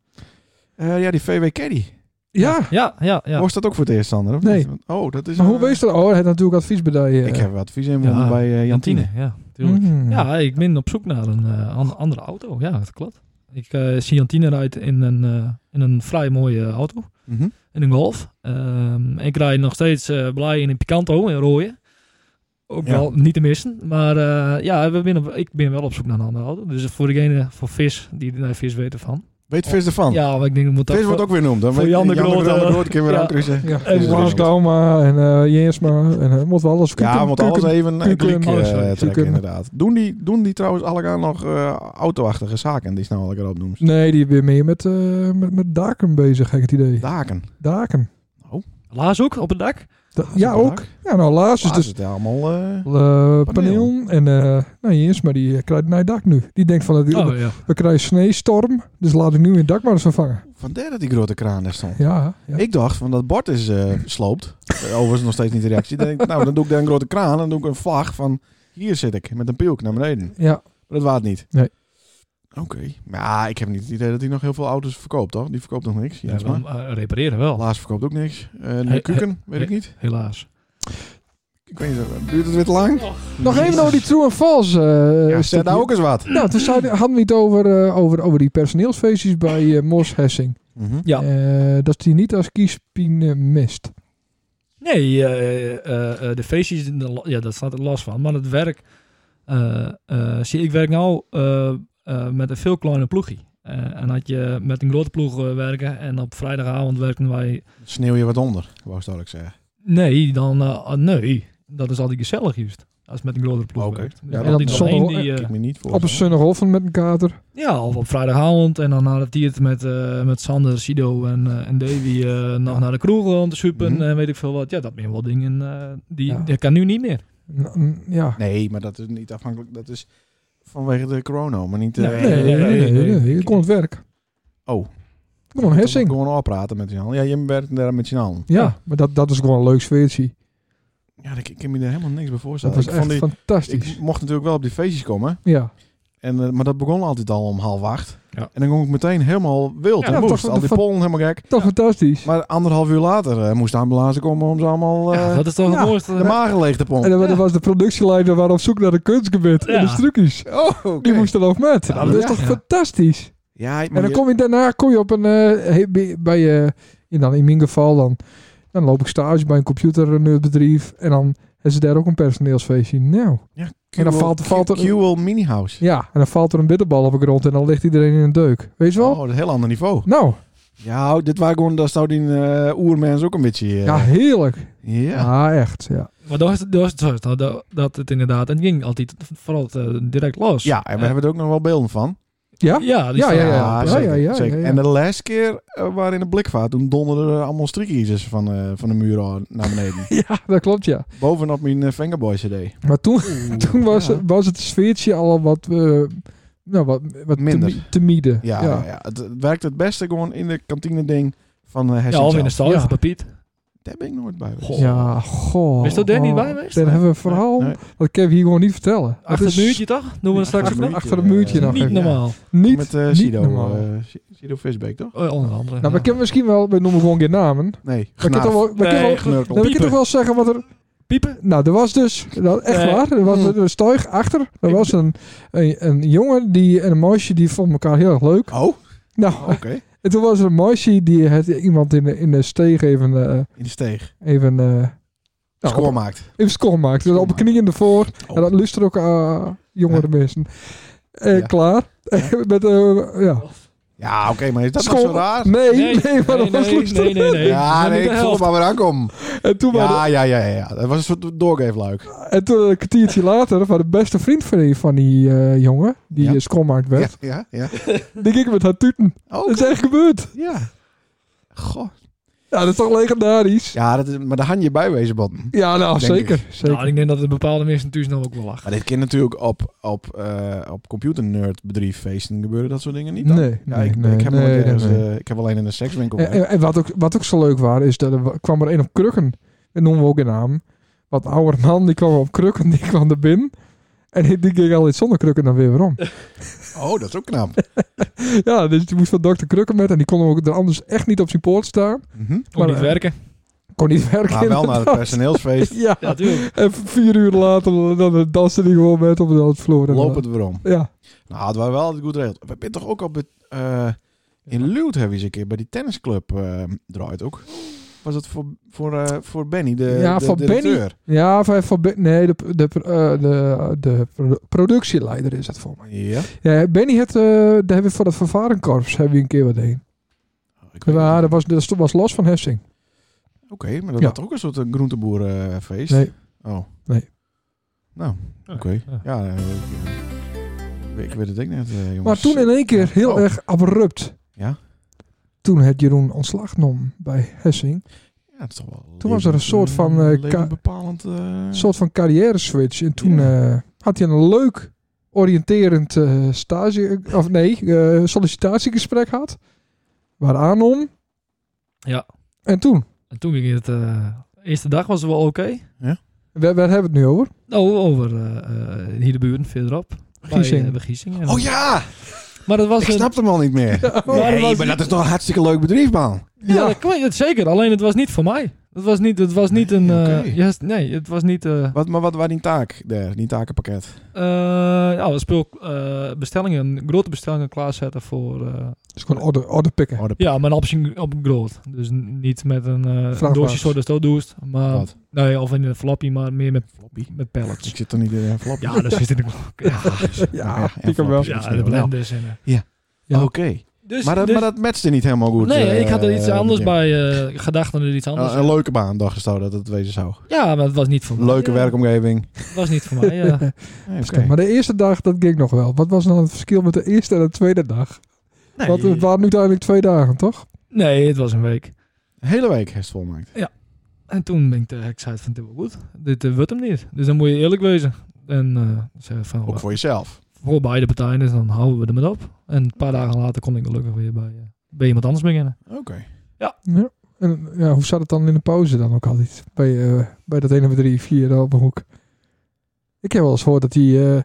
S1: Eh, ja, die VW Caddy.
S2: Ja,
S4: Ja, ja, ja.
S1: Was dat ook voor het eerst, Sander? of
S2: Nee.
S1: niet? Want- Oh, dat is...
S2: maar
S1: een-
S2: hoe wees dat? Oh, hij had natuurlijk advies bij die, eh,
S1: Ik heb wat advies inwonnen
S4: Ja,
S1: bij eh, Jantine.
S4: Ja, tuurlijk.
S2: mm.
S4: Ja, ik ben op zoek naar een eh, an- andere auto. Ja, dat klopt. Ik eh, zie Jantine rijdt in een, eh, in een vrij mooie auto.
S1: Mhm.
S4: In een Golf. Ehm, ik rijd nog steeds eh, blij in een Picanto, in rode. Ook
S1: Ja.
S4: wel niet te missen. Maar eh, ja, we ben op- ik ben wel op zoek naar een andere auto. Dus voor degene, voor Vis, die naar Vis weten van.
S1: Weet Vis ervan?
S4: Ja, maar ik denk dat moet dat...
S1: Oh. Vis wordt ook weer noemd. Dan
S4: voor
S1: weet-
S4: Jan de Groot, eh,
S1: Groot kunnen we
S4: ja.
S1: uitrusten.
S2: Ja,
S4: En
S2: en Frans
S1: Ronald.
S2: Dauma en eh Jeersma en eh moet wel alles
S1: Ja, want alles even een
S2: kuken-
S1: kliek eh,
S4: oh, sorry,
S1: trekken
S2: kuken.
S1: inderdaad. Doen die, doen die trouwens allemaal nog eh, autoachtige zaken die snel lekker opnoemt?
S2: Nee, die weer meer met, eh, met, met daken bezig, heb ik het idee.
S1: Daken.
S2: Daken.
S4: Laas ook op het dak.
S2: Da-
S1: Ah,
S2: ja, ook. Ja, nou, Laas is
S1: Dus
S2: dus
S1: het allemaal... eh,
S2: eh
S1: Paneel.
S2: paneel. En eh nou, Jeersma die eh, krijgt naar het dak nu. Die denkt van, het-
S4: Oh ja.
S2: we krijgen sneeuwstorm, dus laat ik nu het dak maar eens vervangen.
S1: Vandaar dat die grote kraan daar stond.
S2: Ja, ja.
S1: Ik dacht, van dat bord is eh sloopt. Eh, Overigens nog steeds niet de reactie. Dan denk ik, nou, dan doe ik daar een grote kraan en dan doe ik een vlag van... Hier zit ik, met een pilk naar beneden.
S2: ja.
S1: Maar dat waard niet.
S2: Nee.
S1: Oké. Maar ik heb niet het idee dat hij nog heel veel auto's verkoopt, hoor. Die verkoopt nog niks.
S4: Ja,
S1: Ja, maar.
S4: wel, eh, repareren wel,
S1: Laas verkoopt ook niks. Eh de
S4: Hey,
S1: kuken, weet ik
S4: hey.
S1: niet.
S4: helaas.
S1: Ik weet niet, eh, duurt het weer te lang?
S2: Nog even over die true en false. eh,
S1: Ja, zet
S2: stukje.
S1: daar ook eens wat.
S2: Nou, toen zeiden- hadden we het over, eh, over, over die personeelsfeestjes bij eh, Mos Hessing.
S1: Mhm.
S4: Ja.
S2: Eh, dat die niet als kiespien eh, mist.
S4: Nee, eh, eh, eh, de feestjes, de la- ja, dat staat er last van. Maar het werk, eh, eh, zie ik werk nou eh, eh, met een veel kleiner ploegje. Eh, en had je met een grote ploeg eh, werken en op vrijdagavond werken wij...
S1: Sneeuw je wat onder, wou ik ik zeggen.
S4: Nee, dan eh, nee. Dat is altijd gezellig juist. Als het met een grotere ploeg
S1: Oké.
S4: werkt. Dus
S1: Ja,
S4: dan
S1: dan
S4: had je nog
S2: zonder-
S4: één die, eh,
S1: ik me niet voor.
S2: Op een zonnig oven met een kater.
S4: ja, of op vrijdagavond. En dan had hij het met, eh, met Sander, Sido en, eh, en Davy eh, nog naar de kroeg om te suppen.
S1: Mhm.
S4: En weet ik veel wat. Ja, dat zijn wel dingen eh, die,
S2: Ja.
S4: dat kan nu niet meer.
S2: N- n- ja.
S1: Nee, maar dat is niet afhankelijk. Dat is vanwege de corona, maar niet... eh,
S4: Nee,
S2: Nee, nee, nee.
S4: nee, nee.
S2: nee. Je kon het werk.
S1: Oh.
S2: Gewoon Hessing.
S1: Gewoon praten met z'n allen. Ja, je werkt daar met z'n allen.
S2: Ja, maar dat, dat is gewoon een leuk sfeertje.
S1: Ja, ik, ik heb me daar helemaal niks bij
S2: Dat
S1: voorstellen.
S2: was
S1: Ik, vond
S2: echt
S1: die-
S2: fantastisch.
S1: ik mocht natuurlijk wel op die feestjes komen.
S2: Ja.
S1: En, eh, maar dat begon altijd al om half acht.
S4: Ja.
S1: En dan kon ik meteen helemaal wild.
S4: Ja,
S1: en
S2: dat
S1: woest.
S2: was
S1: al
S2: de
S1: die
S2: fa-
S1: pollen helemaal gek.
S2: Toch fantastisch.
S1: Maar anderhalf uur later eh, moest de ambulance komen om ze allemaal eh,
S4: Ja, dat is toch
S2: ja,
S4: het mooiste.
S1: de magen leeg te
S2: En
S1: pompen.
S2: dan
S4: Ja.
S2: dan was de productieleider waar op zoek naar een kunstgebied en
S4: Ja.
S2: de trucjes.
S1: Oh, oké.
S2: Die moest er nog met.
S1: Ja,
S2: dat is
S1: ja.
S2: toch
S4: Ja.
S2: fantastisch?
S1: Ja, maar
S2: En dan
S1: je-
S2: kom je daarna kom je op een eh, he- bij- bij eh, in, dan, in mijn geval dan, dan loop ik stage bij een computernerdbedrijf en dan hebben ze daar ook een personeelsfeestje. Nou, en dan
S1: QL
S2: valt- valt er-
S1: QL Mini House.
S2: ja, en dan valt er een bitterbal op de grond en dan ligt iedereen in een deuk. Weet je wel?
S1: Oh, dat is een heel ander niveau.
S2: Nou,
S1: Ja, dit waren gewoon, daar zou die eh, oermens ook een beetje... eh,
S2: Ja, heerlijk.
S1: ja.
S2: Ja, echt. Ja.
S4: Maar dat was, dat was het zo, dat- dat, dat het inderdaad, het ging altijd vooral eh, direct los.
S1: Ja, en we
S4: Eh,
S1: hebben er ook nog wel beelden van.
S2: Ja?
S4: ja, die
S2: Ja,
S4: staan-
S2: ja, ja.
S1: zeker,
S2: ja, ja,
S1: zeker.
S2: ja, ja.
S1: En de laatste keer eh, waren in de blikvaart, toen donderden er allemaal strikkiezers van, eh, van de muur al naar beneden.
S2: ja, dat klopt, ja.
S1: Bovenop mijn eh, Fingerboy CD.
S2: Maar toen, toen was,
S1: ja.
S2: was het sfeertje al wat, eh, nou, wat, wat
S1: Minder.
S2: Te, mi- te mieden.
S1: Ja, ja. Het, het werkt het beste gewoon in de kantine ding van eh
S4: Ja,
S1: Hessing
S4: of
S1: zelf.
S4: in de stal,
S2: Ja.
S4: ja. papiet.
S1: Daar ben ik nooit bij. geweest.
S4: Goh.
S2: Ja, goh.
S4: Is dat daar niet bij
S2: Oh,
S4: geweest?
S2: Dan hebben we een verhaal.
S1: Nee, nee.
S2: Dat kan ik hier gewoon niet vertellen. Dat
S4: Achter
S2: is
S4: het muurtje toch? Doen we dat straks
S2: dus- achter-
S4: nog?
S2: achter het muurtje
S1: eh,
S2: nog
S4: Niet
S2: even,
S4: normaal.
S2: Niet,
S1: Met eh
S2: niet
S1: Sido,
S2: normaal.
S1: eh, Si- Sido Visbeek, toch?
S4: Oh, onder andere.
S2: nou,
S4: ja.
S2: we kunnen misschien wel, we noemen gewoon geen namen.
S1: Nee,
S2: We kunnen
S1: Gnaaf.
S2: toch wel, we kunnen
S4: Nee,
S2: wel,
S4: goed.
S1: Knurkel.
S2: nee, we kunnen toch wel zeggen wat er
S4: Piepen?
S2: Nou, er was dus, dat, echt
S4: Eh,
S2: waar, er was
S1: mm.
S2: een stuig achter. Er
S4: Ik
S2: was een, een, een jongen die, en een meisje die vonden elkaar heel erg leuk.
S1: Oh,
S2: Nou,
S1: oké.
S2: en toen was er een meisje die het iemand in de, in de steeg even, eh,
S1: In de steeg.
S2: even, eh nou,
S1: Score
S2: op-
S1: maakt.
S2: even score maakte. Dus op de
S1: Schoonmaakt.
S2: knieën ervoor.
S1: Oh.
S2: En dat luisteren ook eh, jongere mensen. Eh,
S1: Ja.
S2: Klaar. Met, eh, ja.
S1: Ja, oké, maar is dat nog
S2: Schoon-
S1: zo raar?
S2: Nee, nee, maar dat was
S4: nee,
S2: lustig.
S4: nee, nee, nee.
S1: Ja,
S4: Dat is
S1: nee,
S4: niet
S1: ik
S4: de
S1: voel het
S4: helft.
S1: maar weer aankomen.
S2: En toen, waren-
S1: Ja, ja, ja, ja, ja. Dat was een soort doorgeefluik.
S2: en toen een kwartiertje later, van de beste vriend van die, van die eh, jongen, die
S1: Ja.
S2: ja. schoonmaakt werd,
S1: Ja, ja, ja.
S2: die ging met haar tuten.
S1: Oh,
S2: Dat is echt gebeurd.
S1: ja. Goh.
S2: Ja, dat is toch legendarisch? Ja,
S1: Ja, dat is, maar daar hang je bij wezen, Bob.
S2: nou,
S1: Denk
S2: zeker. zeker.
S4: Nou, ik denk dat het bepaalde mensen natuurlijk nog ook wel lachen.
S1: Maar dit kan natuurlijk op, op, eh op computernerdbedrijffeesten gebeuren, dat soort dingen niet. Dan?
S2: nee, nee,
S1: Ja, ik,
S2: nee,
S1: ik, heb
S2: nee,
S1: nooit
S2: nee,
S1: ergens,
S2: nee.
S1: eh, ik heb alleen in de sekswinkel
S2: En, en- en wat, ook, wat ook zo leuk was, is dat er wa- kwam er een op krukken. En noemen we ook een naam. Wat ouder man, die kwam op krukken, die kwam er binnen. En die- die ging al iets zonder krukken dan weer weer om.
S1: Oh, dat is ook knap.
S2: Ja, dus die moest van dokter krukken met. En die kon ook er anders echt niet op zijn poort staan.
S1: Mhm.
S4: Kon
S2: Maar,
S4: niet
S2: eh,
S4: werken.
S2: Kon niet werken.
S1: Maar wel naar het
S2: inderdaad.
S1: personeelsfeest.
S2: Ja,
S4: Ja, tuurlijk.
S2: en vier uur later dan danste die gewoon met op de dansvloer. En
S1: Loop
S2: dan-
S1: het weer om.
S2: Ja.
S1: Nou, hadden wij wel goed regeld. We zijn toch ook op het, eh, in Luwt hebben we eens een keer bij die tennisclub eh, draait ook. Was dat voor, voor, eh, voor Benny, de
S2: Ja,
S1: de
S2: voor Benny.
S1: directeur?
S2: Ja, van, van Be- nee, de, de, eh, de, de produ- productieleider is dat voor mij.
S1: Ja.
S2: Ja, Benny had, eh, daar hebben we voor dat vervarenkorps hebben we een keer wat heen.
S1: Ik weet
S2: Ja,
S1: het
S2: dat
S1: niet.
S2: was, dat stond- was los van Hessing.
S1: Oké, maar dat
S2: Ja.
S1: was toch ook een soort eh, groenteboerenfeest?
S2: Nee.
S1: Oh.
S2: Nee.
S1: Nou, oké.
S4: Ja.
S1: Ja, eh, ik, eh, ik weet het ook net, eh, jongens.
S2: Maar toen in één keer heel
S1: Oh.
S2: erg abrupt.
S1: Ja.
S2: Toen had Jeroen ontslag genomen bij Hessing.
S1: Ja, dat is toch wel
S2: Toen was er een soort van,
S1: eh,
S2: eh, ka-
S1: levensbepalend, eh,
S2: Een soort van carrière switch. En toen eh, had hij een leuk oriënterend eh, stage, of nee, eh, sollicitatiegesprek had. Waar Anon.
S4: Ja.
S2: En toen,
S4: En toen ging het... eh, eerste dag was het wel oké.
S2: waar, waar hebben we het nu over?
S4: Nou, over eh, eh, hier de buurt, verderop. Bij,
S2: Giesing.
S4: eh, bij Giesing. En-
S1: Oh ja,
S4: Maar dat was
S1: ik
S4: een-
S1: snap hem al niet meer.
S4: maar dat
S1: Nee,
S4: was
S1: maar
S4: niet-
S1: dat is toch een hartstikke leuk bedrijf, man.
S4: Ja, dat kan je- zeker. Alleen het was niet voor mij. Het was niet, het was niet een...
S1: Nee,
S4: eh,
S1: oké.
S4: juist- nee, het was niet... eh,
S1: Wat, maar wat waren die taak daar, die takenpakket?
S4: eh, ja, we speel eh, bestellingen, grote bestellingen klaarzetten voor... eh,
S2: Dus gewoon orde, orde pikken.
S1: Oh, de
S4: ja, maar een optie op groot. Dus n- niet met een eh
S2: Vrachtwagens.
S4: doosje zoals dat doet. Maar,
S1: Wat?
S4: nee, of in een flappie, maar meer met,
S1: floppy.
S4: met pallets.
S1: Ik zit toch niet eh, in een flop.
S4: Ja, dat zit ik Ja,
S2: Ja,
S1: en floppies
S2: pikken wel.
S1: misschien
S4: ja de blend is in. eh.
S2: Ja.
S1: Oké,
S4: Dus,
S1: maar, dat,
S4: dus-
S1: maar dat matchte niet helemaal goed.
S4: nee,
S1: eh, Ah,
S4: ik had er iets
S1: eh,
S4: anders
S1: Jim.
S4: bij eh, gedacht dan er iets anders.
S1: Een, een leuke baan, dacht ik zo, dat het wezen zou.
S4: ja, maar het was niet voor mij.
S1: Leuke
S4: Ja,
S1: werkomgeving.
S4: Het was niet voor mij, eh. ja.
S1: Nee, oké.
S2: Maar de eerste dag, dat ging nog wel. Wat was dan het verschil met de eerste en de tweede dag?
S1: Nee,
S2: Want het waren nu uiteindelijk twee dagen, toch?
S4: Nee, het was een week.
S1: de hele week heeft het volmaakt.
S4: En toen ben ik de heksuit van dit wordt goed. Dit eh, wordt hem niet. Dus dan moet je eerlijk wezen. En eh zeggen van,
S1: Ook
S4: eh,
S1: voor jezelf.
S4: voor beide partijen, dus dan houden we er met op. En een paar dagen later kon ik gelukkig weer bij, eh, bij iemand anders beginnen.
S1: Oké.
S2: Ja. En ja, hoe zat het dan in de pauze dan ook altijd? Bij, eh, bij dat ene bedrijf hier daar op een hoek. Ik heb wel eens gehoord dat die, eh,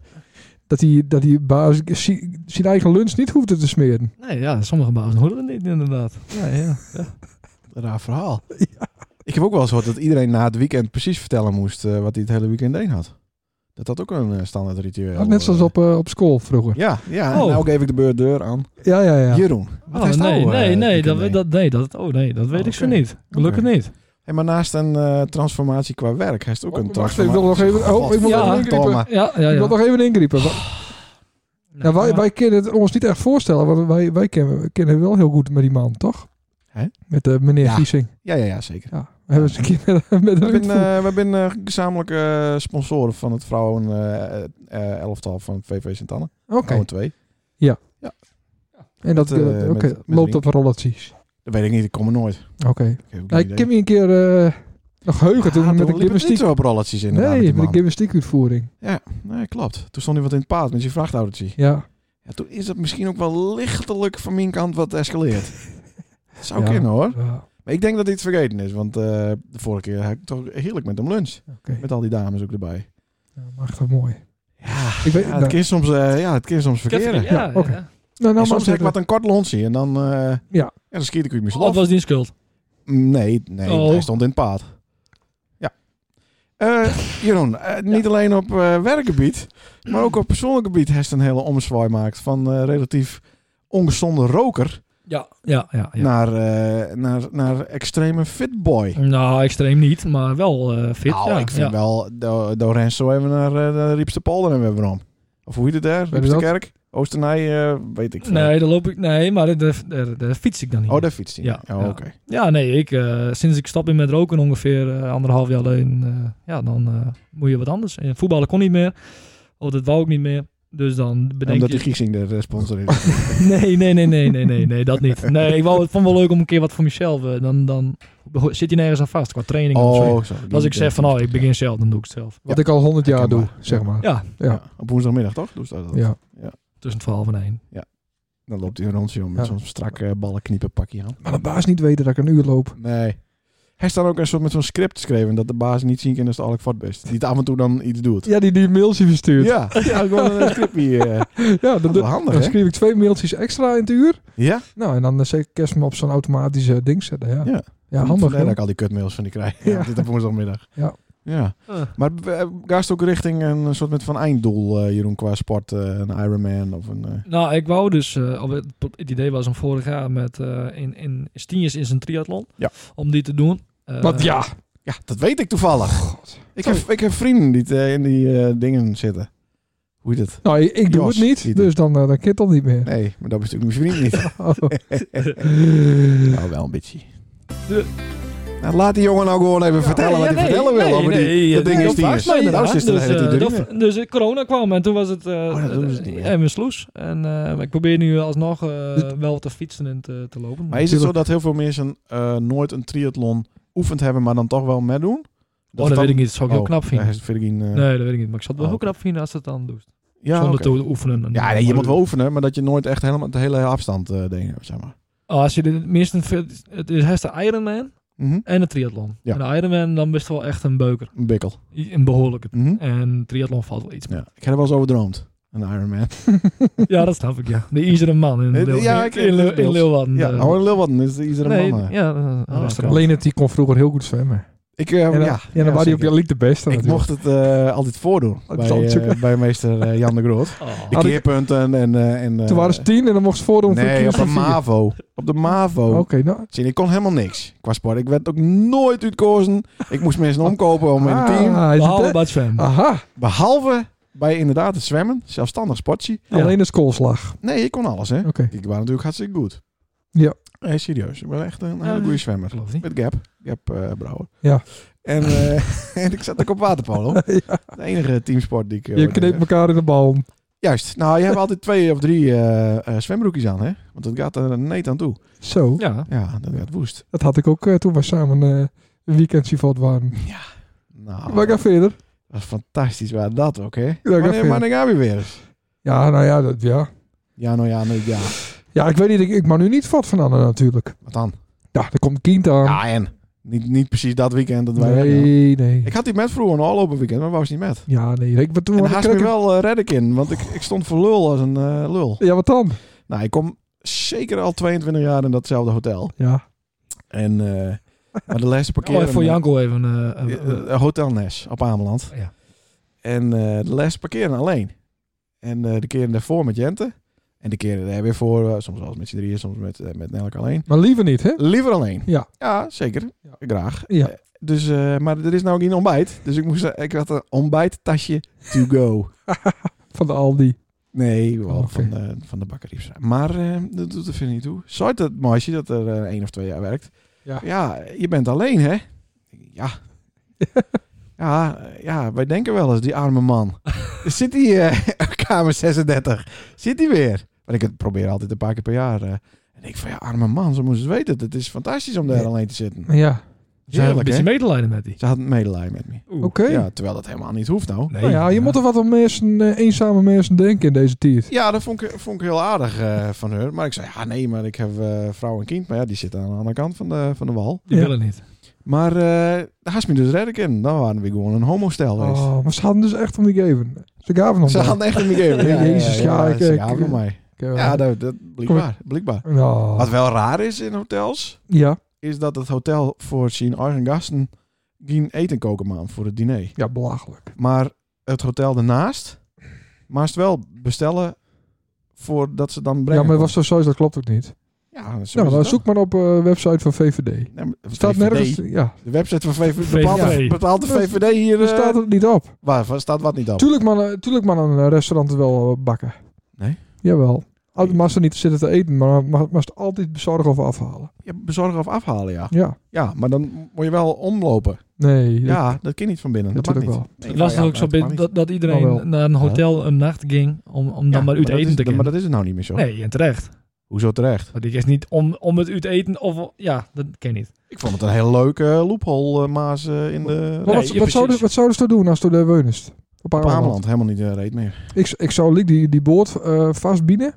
S2: dat die, dat die baas zi- zijn eigen lunch niet hoefde te smeren.
S4: Nee, ja, sommige bazen horen het niet inderdaad. Ja, ja. ja.
S1: Raar verhaal. Ik heb ook wel eens gehoord dat iedereen na het weekend precies vertellen moest eh, wat hij het hele weekend deed had. Dat dat ook een eh, standaard ritueel.
S2: Net zoals
S1: eh,
S2: op, eh, op school vroeger.
S1: Ja, ja. en
S4: Oh.
S1: nou geef ik de beurt deur aan.
S2: Ja, ja, ja.
S1: Jeroen. wat
S4: Oh,
S1: heeft
S4: nee,
S1: nou, eh,
S4: nee,
S1: het
S4: nee,
S1: weekend
S4: dat,
S1: deed?
S4: dat, nee, dat, oh, nee, dat weet
S1: Oh,
S4: ik zo
S1: oké.
S4: niet. Gelukkig
S1: Oké.
S4: niet.
S1: En maar naast een eh, transformatie qua werk, heeft het ook een
S2: Oh, Wacht, ik
S1: transformatie.
S2: wil nog even... Oh, ik moet
S4: Ja.
S2: nog even ingriepen.
S1: Thomas.
S4: Ja, ja, ja.
S2: Ik wil nog even ingriepen.
S4: Nee,
S2: Nou, wij,
S4: maar-
S2: wij kunnen het ons niet echt voorstellen, want wij, wij kennen, kennen wel heel goed met die man, toch?
S1: Hè?
S2: Met eh, meneer
S1: Ja.
S2: Giesing.
S1: Ja, ja, ja zeker.
S2: Ja, we hebben eens een keer met, met
S1: We
S2: een
S1: zijn
S2: uitvoer.
S1: eh, we zijn eh, gezamenlijk eh, sponsoren van het vrouwen eh, eh, elftal van VV Sint-Anne.
S2: Oké,
S1: Vrouwen 2.
S2: en dat
S1: met, eh,
S2: eh, oké,
S1: met- met
S2: loopt
S1: Rink.
S2: op rolletjes.
S1: Dat weet ik niet, ik kom er nooit. Ik
S2: Oké.
S1: heb ook
S2: Nou,
S1: geen
S2: ik
S1: idee.
S2: heb me een keer eh, nog heugen toen
S1: Ah,
S2: met een
S1: liepen we niet
S2: gymnastiek.
S1: zo op rolletjes inderdaad.
S2: Nee,
S1: met die
S2: met een
S1: man.
S2: gymnastiekuitvoering.
S1: Nee, klopt. Toen stond iemand in het paard met zijn vrachtautootje.
S2: Ja.
S1: Ja, toen is dat misschien ook wel lichtelijk van mijn kant wat escaleerd. Dat zou
S2: Ja.
S1: kunnen hoor.
S2: Ja.
S1: Maar ik denk dat dit vergeten is, want eh, de vorige keer had ik toch heerlijk met hem lunch.
S2: Oké.
S1: Met al die dames ook erbij.
S2: Ja, maar echt wel mooi.
S1: Ja,
S2: Ik weet,
S1: ja,
S2: nou,
S1: het kan soms, eh, ja, het kan soms verkeren.
S4: Ja, ja,
S2: oké.
S4: ja.
S2: nou,
S1: En
S2: nou,
S1: soms
S2: maar
S1: heb ik wat een kort lontje en dan, eh, ja. dan schiet ik u
S4: Of
S1: mezelf.
S4: was die een schuld?
S1: Nee, nee
S4: Oh.
S1: hij stond in het paard. Ja. Eh, Jeroen, eh, niet alleen op eh, werkgebied, maar ook op persoonlijk gebied heeft een hele omzwaai gemaakt van eh, relatief ongezonde roker
S4: Ja, ja, ja. ja.
S1: naar, eh, naar, naar extreme fitboy.
S4: Nou, extreem niet, maar wel eh, fit.
S1: nou,
S4: ja,
S1: ik vind
S4: ja.
S1: wel, Do- Dorenzo even naar eh, de Riepste Polder en we hebben om. Of hoe heet het daar?
S2: je
S1: Riepste
S2: dat?
S1: Kerk? Oosternij, eh, weet ik veel.
S4: Nee, daar loop ik. Nee, maar daar, daar, daar fiets ik dan niet.
S1: Oh, daar fietst hij.
S4: Ja,
S1: Oh,
S4: ja.
S1: oké.
S4: Ja, nee, ik, eh, sinds ik stap in met roken ongeveer eh, anderhalf jaar alleen, eh, ja, dan eh, moet je wat anders. En voetballen kon niet meer, of dat wou ik niet meer. Dus dan bedenk
S1: Omdat die
S4: je...
S1: Giesing de eh, sponsor is.
S4: Nee, nee, nee, nee, nee, nee, nee, dat niet. Nee, ik wou, het vond wel leuk om een keer wat voor mezelf, eh, dan, dan beho- zit je nergens aan vast qua training of zo.
S1: oh, zo.
S4: Als ik zeg van, oh, ik begin zelf, dan doe ik het zelf.
S2: Wat ik al honderd jaar doe,
S1: Herkenbaar.
S2: zeg maar.
S4: Ja.
S1: Ja.
S2: Ja.
S1: Op woensdagmiddag toch? Doe ze dat?
S2: Ja.
S4: Tussen 12 en 1.
S1: Dan loopt hij rond joh, met
S2: Ja.
S1: zo'n strak eh, ballenkniepen pakje aan.
S2: Maar de baas niet weten dat ik een uur loop.
S1: Nee. Hij staat ook een soort met zo'n script geschreven dat de baas niet zien kan als de Alec Vatbest. Die het af en toe dan iets doet.
S2: Ja, die die mailtje verstuurt. Ja,
S1: Ja, ja gewoon een scriptje. eh.
S2: dan,
S1: dat is
S2: doe-
S1: wel handig,
S2: dan
S1: hè?
S2: schreef ik twee mailtjes extra in het uur.
S1: Ja?
S2: Nou, en dan eh, zet ik kerst me op zo'n automatische ding zetten. Ja,
S1: Ja.
S2: ja. handig.
S1: Vandaar dat
S2: joh.
S1: ik al die kutmails van die krijg.
S2: Ja.
S1: Ja. Dit op woensdagmiddag.
S2: Ja.
S1: Ja. Maar eh, gaast ook richting een soort met van einddoel, eh, Jeroen, qua sport. eh, een Ironman of een... eh,
S4: Nou, ik wou dus, eh, of het, het idee was om vorig jaar met, eh, in, in Stienjes is een triathlon,
S1: Ja.
S4: om die te doen. Eh,
S2: Want ja,
S1: Ja, dat weet ik toevallig. Ik, heb, ik heb vrienden die eh, in die eh, dingen zitten. Hoe heet het?
S2: nou, ik, ik doe
S1: Jos,
S2: het niet,
S1: die
S2: dus dan, eh, dan kan het dan niet meer.
S1: Nee, maar dat is natuurlijk mijn vriend niet. Nou, wel een beetje.
S4: De-
S1: Nou, laat die jongen nou gewoon even vertellen
S4: Nee,
S1: wat
S4: ja,
S1: hij
S4: nee,
S1: vertellen wil
S4: nee,
S1: over die,
S4: nee,
S1: dat
S4: nee,
S1: ding is
S4: dat
S1: die
S4: was
S1: is.
S4: mij inderdaad.
S1: Nou zit er de
S4: dus,
S1: hele tijd
S4: eh,
S1: erin,
S4: dat- dus eh, corona kwam en toen was het eh
S1: Oh, dat doen ze niet meer.
S4: eh, even sloes. En eh, ik probeer nu alsnog eh, wel te fietsen en te, te lopen.
S1: Maar is het zo dat heel veel mensen eh, nooit een triathlon oefend hebben, maar dan toch wel meedoen?
S4: oh, dat weet ik niet. Dat zou ik heel knap vinden.
S1: Nee, vind ik niet, eh,
S4: nee, dat weet ik niet. Maar ik zou het wel
S1: Oh,
S4: heel
S1: oké.
S4: knap vinden als het dan doet.
S1: ja,
S4: Zonder
S1: oké.
S4: te oefenen. En-
S1: ja nee, je moet wel oefenen, maar dat je nooit echt helemaal de hele afstand eh dingen, zeg maar.
S4: Oh, als je dit minstens... Het is het is de Ironman
S1: Mhm.
S4: en de triathlon.
S1: Ja.
S4: En de Ironman dan best wel echt een beuker.
S1: Een bikkel.
S4: I- Een behoorlijke.
S1: Mhm.
S4: En triathlon valt wel iets meer.
S1: Ja. Ik heb er wel eens over droomd. Een Ironman.
S4: Ja, dat snap ik, ja. De Iseren man in,
S1: Eh, Ja,
S4: Leeuw-
S1: ik- ik-
S4: in, in, Leeuw- in Leeuwarden.
S1: Ja,
S4: eh.
S1: oh, een Lilwatten is iedere
S4: nee,
S1: man. eh.
S4: ja, Oh, een
S1: oké.
S4: restaurant.
S2: Leenert die kon vroeger heel goed zwemmen.
S1: Ik, eh,
S2: En dan,
S1: ja,
S2: ja, dan was hij op
S1: zeker.
S2: je liek de beste
S1: Ik
S2: natuurlijk. Oh,
S1: mocht het eh, altijd voordoen
S2: is
S1: bij,
S2: altijd
S1: eh, bij meester eh, Jan de Groot.
S4: Oh.
S1: De
S2: Had ik-
S1: keerpunten en... eh, en eh,
S2: Toen waren ze tien en dan mocht ze voordoen voor
S1: Nee,
S2: de
S1: op de
S2: kies van vier.
S1: MAVO. Op de MAVO.
S2: Oké, nou.
S1: Zie je, ik kon helemaal niks qua sport. Ik werd ook nooit uitkozen. Ik moest mensen omkopen om in het team.
S2: Ah, is het,
S4: Behalve
S2: hè?
S4: bij het zwemmen.
S2: Aha,
S1: Behalve bij inderdaad het zwemmen. Zelfstandig sportje.
S4: Ja.
S2: alleen de schoolslag.
S1: Nee, ik kon alles, hè.
S2: Oké.
S1: Ik was natuurlijk hartstikke goed.
S2: Ja.
S1: Nee, serieus. Ik ben echt een hele
S4: Ja.
S1: goede zwemmer.
S4: Geloof niet.
S1: Met Gap. Gap eh, Brouwer.
S2: Ja.
S1: En, eh, en ik zat ook op waterpolo. De enige teamsport die ik... eh,
S2: Je
S1: ooit deed.
S2: kneept elkaar in de bal.
S1: Juist. Nou, je hebt altijd twee of drie eh, eh, zwembroekjes aan, hè? Want dat gaat er net aan toe.
S2: Zo,
S4: Ja.
S1: Ja, dat gaat woest.
S2: dat had ik ook eh, toen we samen eh, een weekendje voort waren.
S1: Nou,
S2: Maar ik ga verder.
S1: dat is fantastisch. Waar dat ook, hè?
S2: ga
S1: Wanneer,
S2: verder.
S1: wanneer gaan we weer eens?
S2: Ja, nou ja, dat, ja.
S1: Ja, nou ja, nou ja.
S2: Ja, ik weet niet, ik, ik mag nu niet vat van Anne natuurlijk.
S1: Wat dan?
S2: Ja, er komt kind aan.
S1: Ja, en? Niet, niet precies dat weekend dat wij weg gaan.
S2: nee, nee.
S1: Ik had die met vroeger een afgelopen weekend, maar was niet met.
S2: Ja, nee. Ik, maar toen
S1: En
S2: had ik
S1: haast me
S2: lekker-
S1: wel eh, red ik in, want ik, ik stond voor lul als een eh, lul.
S2: Ja, wat dan?
S1: Nou, ik kom zeker al 22 jaar in datzelfde hotel.
S2: Ja.
S1: En eh maar de laatste
S4: Oh,
S1: parkeren...
S4: even voor Janko even. eh, eh, eh,
S1: Eh, eh, Hotel Nes op Ameland.
S4: Ja.
S1: En eh, de les parkeren alleen. En eh, de keren daarvoor met Jente. En de keren daar weer voor, eh, soms wel eens met z'n drieën, soms met, eh, met Nelk alleen.
S2: Maar liever niet, hè?
S1: Liever alleen.
S2: Ja.
S1: Ja, zeker. Graag.
S2: Ja.
S1: Eh, Dus, eh, maar er is nou geen eh, ontbijt. Dus ik, moest, ik had een ontbijttasje to go.
S2: Van de Aldi.
S1: Nee, wel
S2: Oké.
S1: van, de, van de bakker Riepstra. Maar eh, dat doet er verder niet toe. Zou dat meisje dat er eh, één of twee jaar werkt?
S2: Ja.
S1: ja, je bent alleen, hè? Ja. ja, eh, ja, wij denken wel eens, die arme man. Zit hij eh, op kamer 36? Zit hij weer? Want ik probeer altijd een paar keer per jaar. eh, en ik van, ja, arme man, ze moesten weten. Het is fantastisch om daar
S2: Nee.
S1: alleen te zitten.
S2: Ja,
S4: Ze hebben een
S1: Heerlijk, hè?
S4: beetje medelijden met die.
S1: Ze had medelijden met me.
S4: Oeh.
S2: oké.
S1: Ja, terwijl dat helemaal niet hoeft nou.
S4: Nee,
S2: Nou ja, je moet er wat om mensen, eh, eenzame mensen denken in deze tijd.
S1: Ja, dat vond ik, vond ik heel aardig eh, van haar. Maar ik zei, ja nee, maar ik heb eh, vrouw en kind. Maar ja, die zitten aan de andere kant van de, van de wal.
S4: Die
S2: Ja.
S4: willen niet.
S1: Maar eh daar had ze me dus redden kunnen. Dan waren we gewoon een homostel geweest.
S2: Oh, maar ze hadden dus echt om die geven. Ze gaven nog
S1: Ze
S2: wel.
S1: hadden echt een idee.
S2: Jezus, ja, ik-
S1: ze
S2: ik-
S1: gaven van mij.
S2: Ik, eh,
S1: Ja, dat, dat blijkbaar, blijkbaar.
S2: nou,
S1: Wat wel raar is in hotels,
S2: ja.
S1: is dat het hotel voor zijn eigen gasten geen eten koken man voor het diner.
S2: ja, belachelijk.
S1: Maar het hotel daarnaast, maast wel bestellen voordat ze dan
S2: Ja,
S1: brengen.
S2: maar was zo sowieso, dat klopt ook niet.
S1: Ja, zo
S2: nou,
S1: is
S2: dan
S1: het
S2: zoek maar op eh website van VVD.
S1: Nee, maar
S2: Het staat
S1: VVD.
S2: nergens. Ja,
S1: De website van VVD.
S4: VVD.
S1: Bepaalt, de-
S4: Ja.
S1: bepaalt de VVD hier.
S2: er
S1: eh,
S2: staat het niet op.
S1: waar waar staat wat niet op?
S2: Tuurlijk man, eh, tuurlijk man een eh, restaurant het wel eh, bakken.
S1: Nee?
S2: Jawel. Altijd mag ze niet zitten te eten, maar mag, mag ze het altijd bezorgen of afhalen.
S1: Ja, bezorgen of afhalen, ja.
S2: Ja.
S1: Ja, maar dan moet je wel omlopen.
S2: Nee. dat-
S1: Ja, dat kan niet van binnen. Dat mag niet.
S2: Natuurlijk
S1: Nee,
S4: Het
S1: nou
S4: was
S1: ja,
S4: toch ook zo
S1: dat mag
S4: binnen
S1: niet.
S4: dat, dat
S2: Oh, wel.
S4: iedereen naar een hotel een nacht ging om, om dan
S1: Ja,
S4: maar uit
S1: dat
S4: eten
S1: is-
S4: te
S1: Maar
S4: gaan.
S1: dat is het nou niet meer zo.
S4: Nee, en terecht.
S1: Hoezo terecht?
S4: Want ik is niet om, om het uit eten of... Ja, dat ken je niet.
S1: Ik vond het een heel leuke loophole, eh, Maas, eh, in de...
S2: Maar
S4: Nee,
S2: wat,
S4: ja,
S2: wat, zouden,
S4: precies.
S2: wat zouden ze dan doen als ze de weunest? Op
S1: Op
S2: Ameland.
S1: Ameland helemaal niet eh, reed meer.
S2: Ik, ik zou Liek die, die boord eh vastbieden.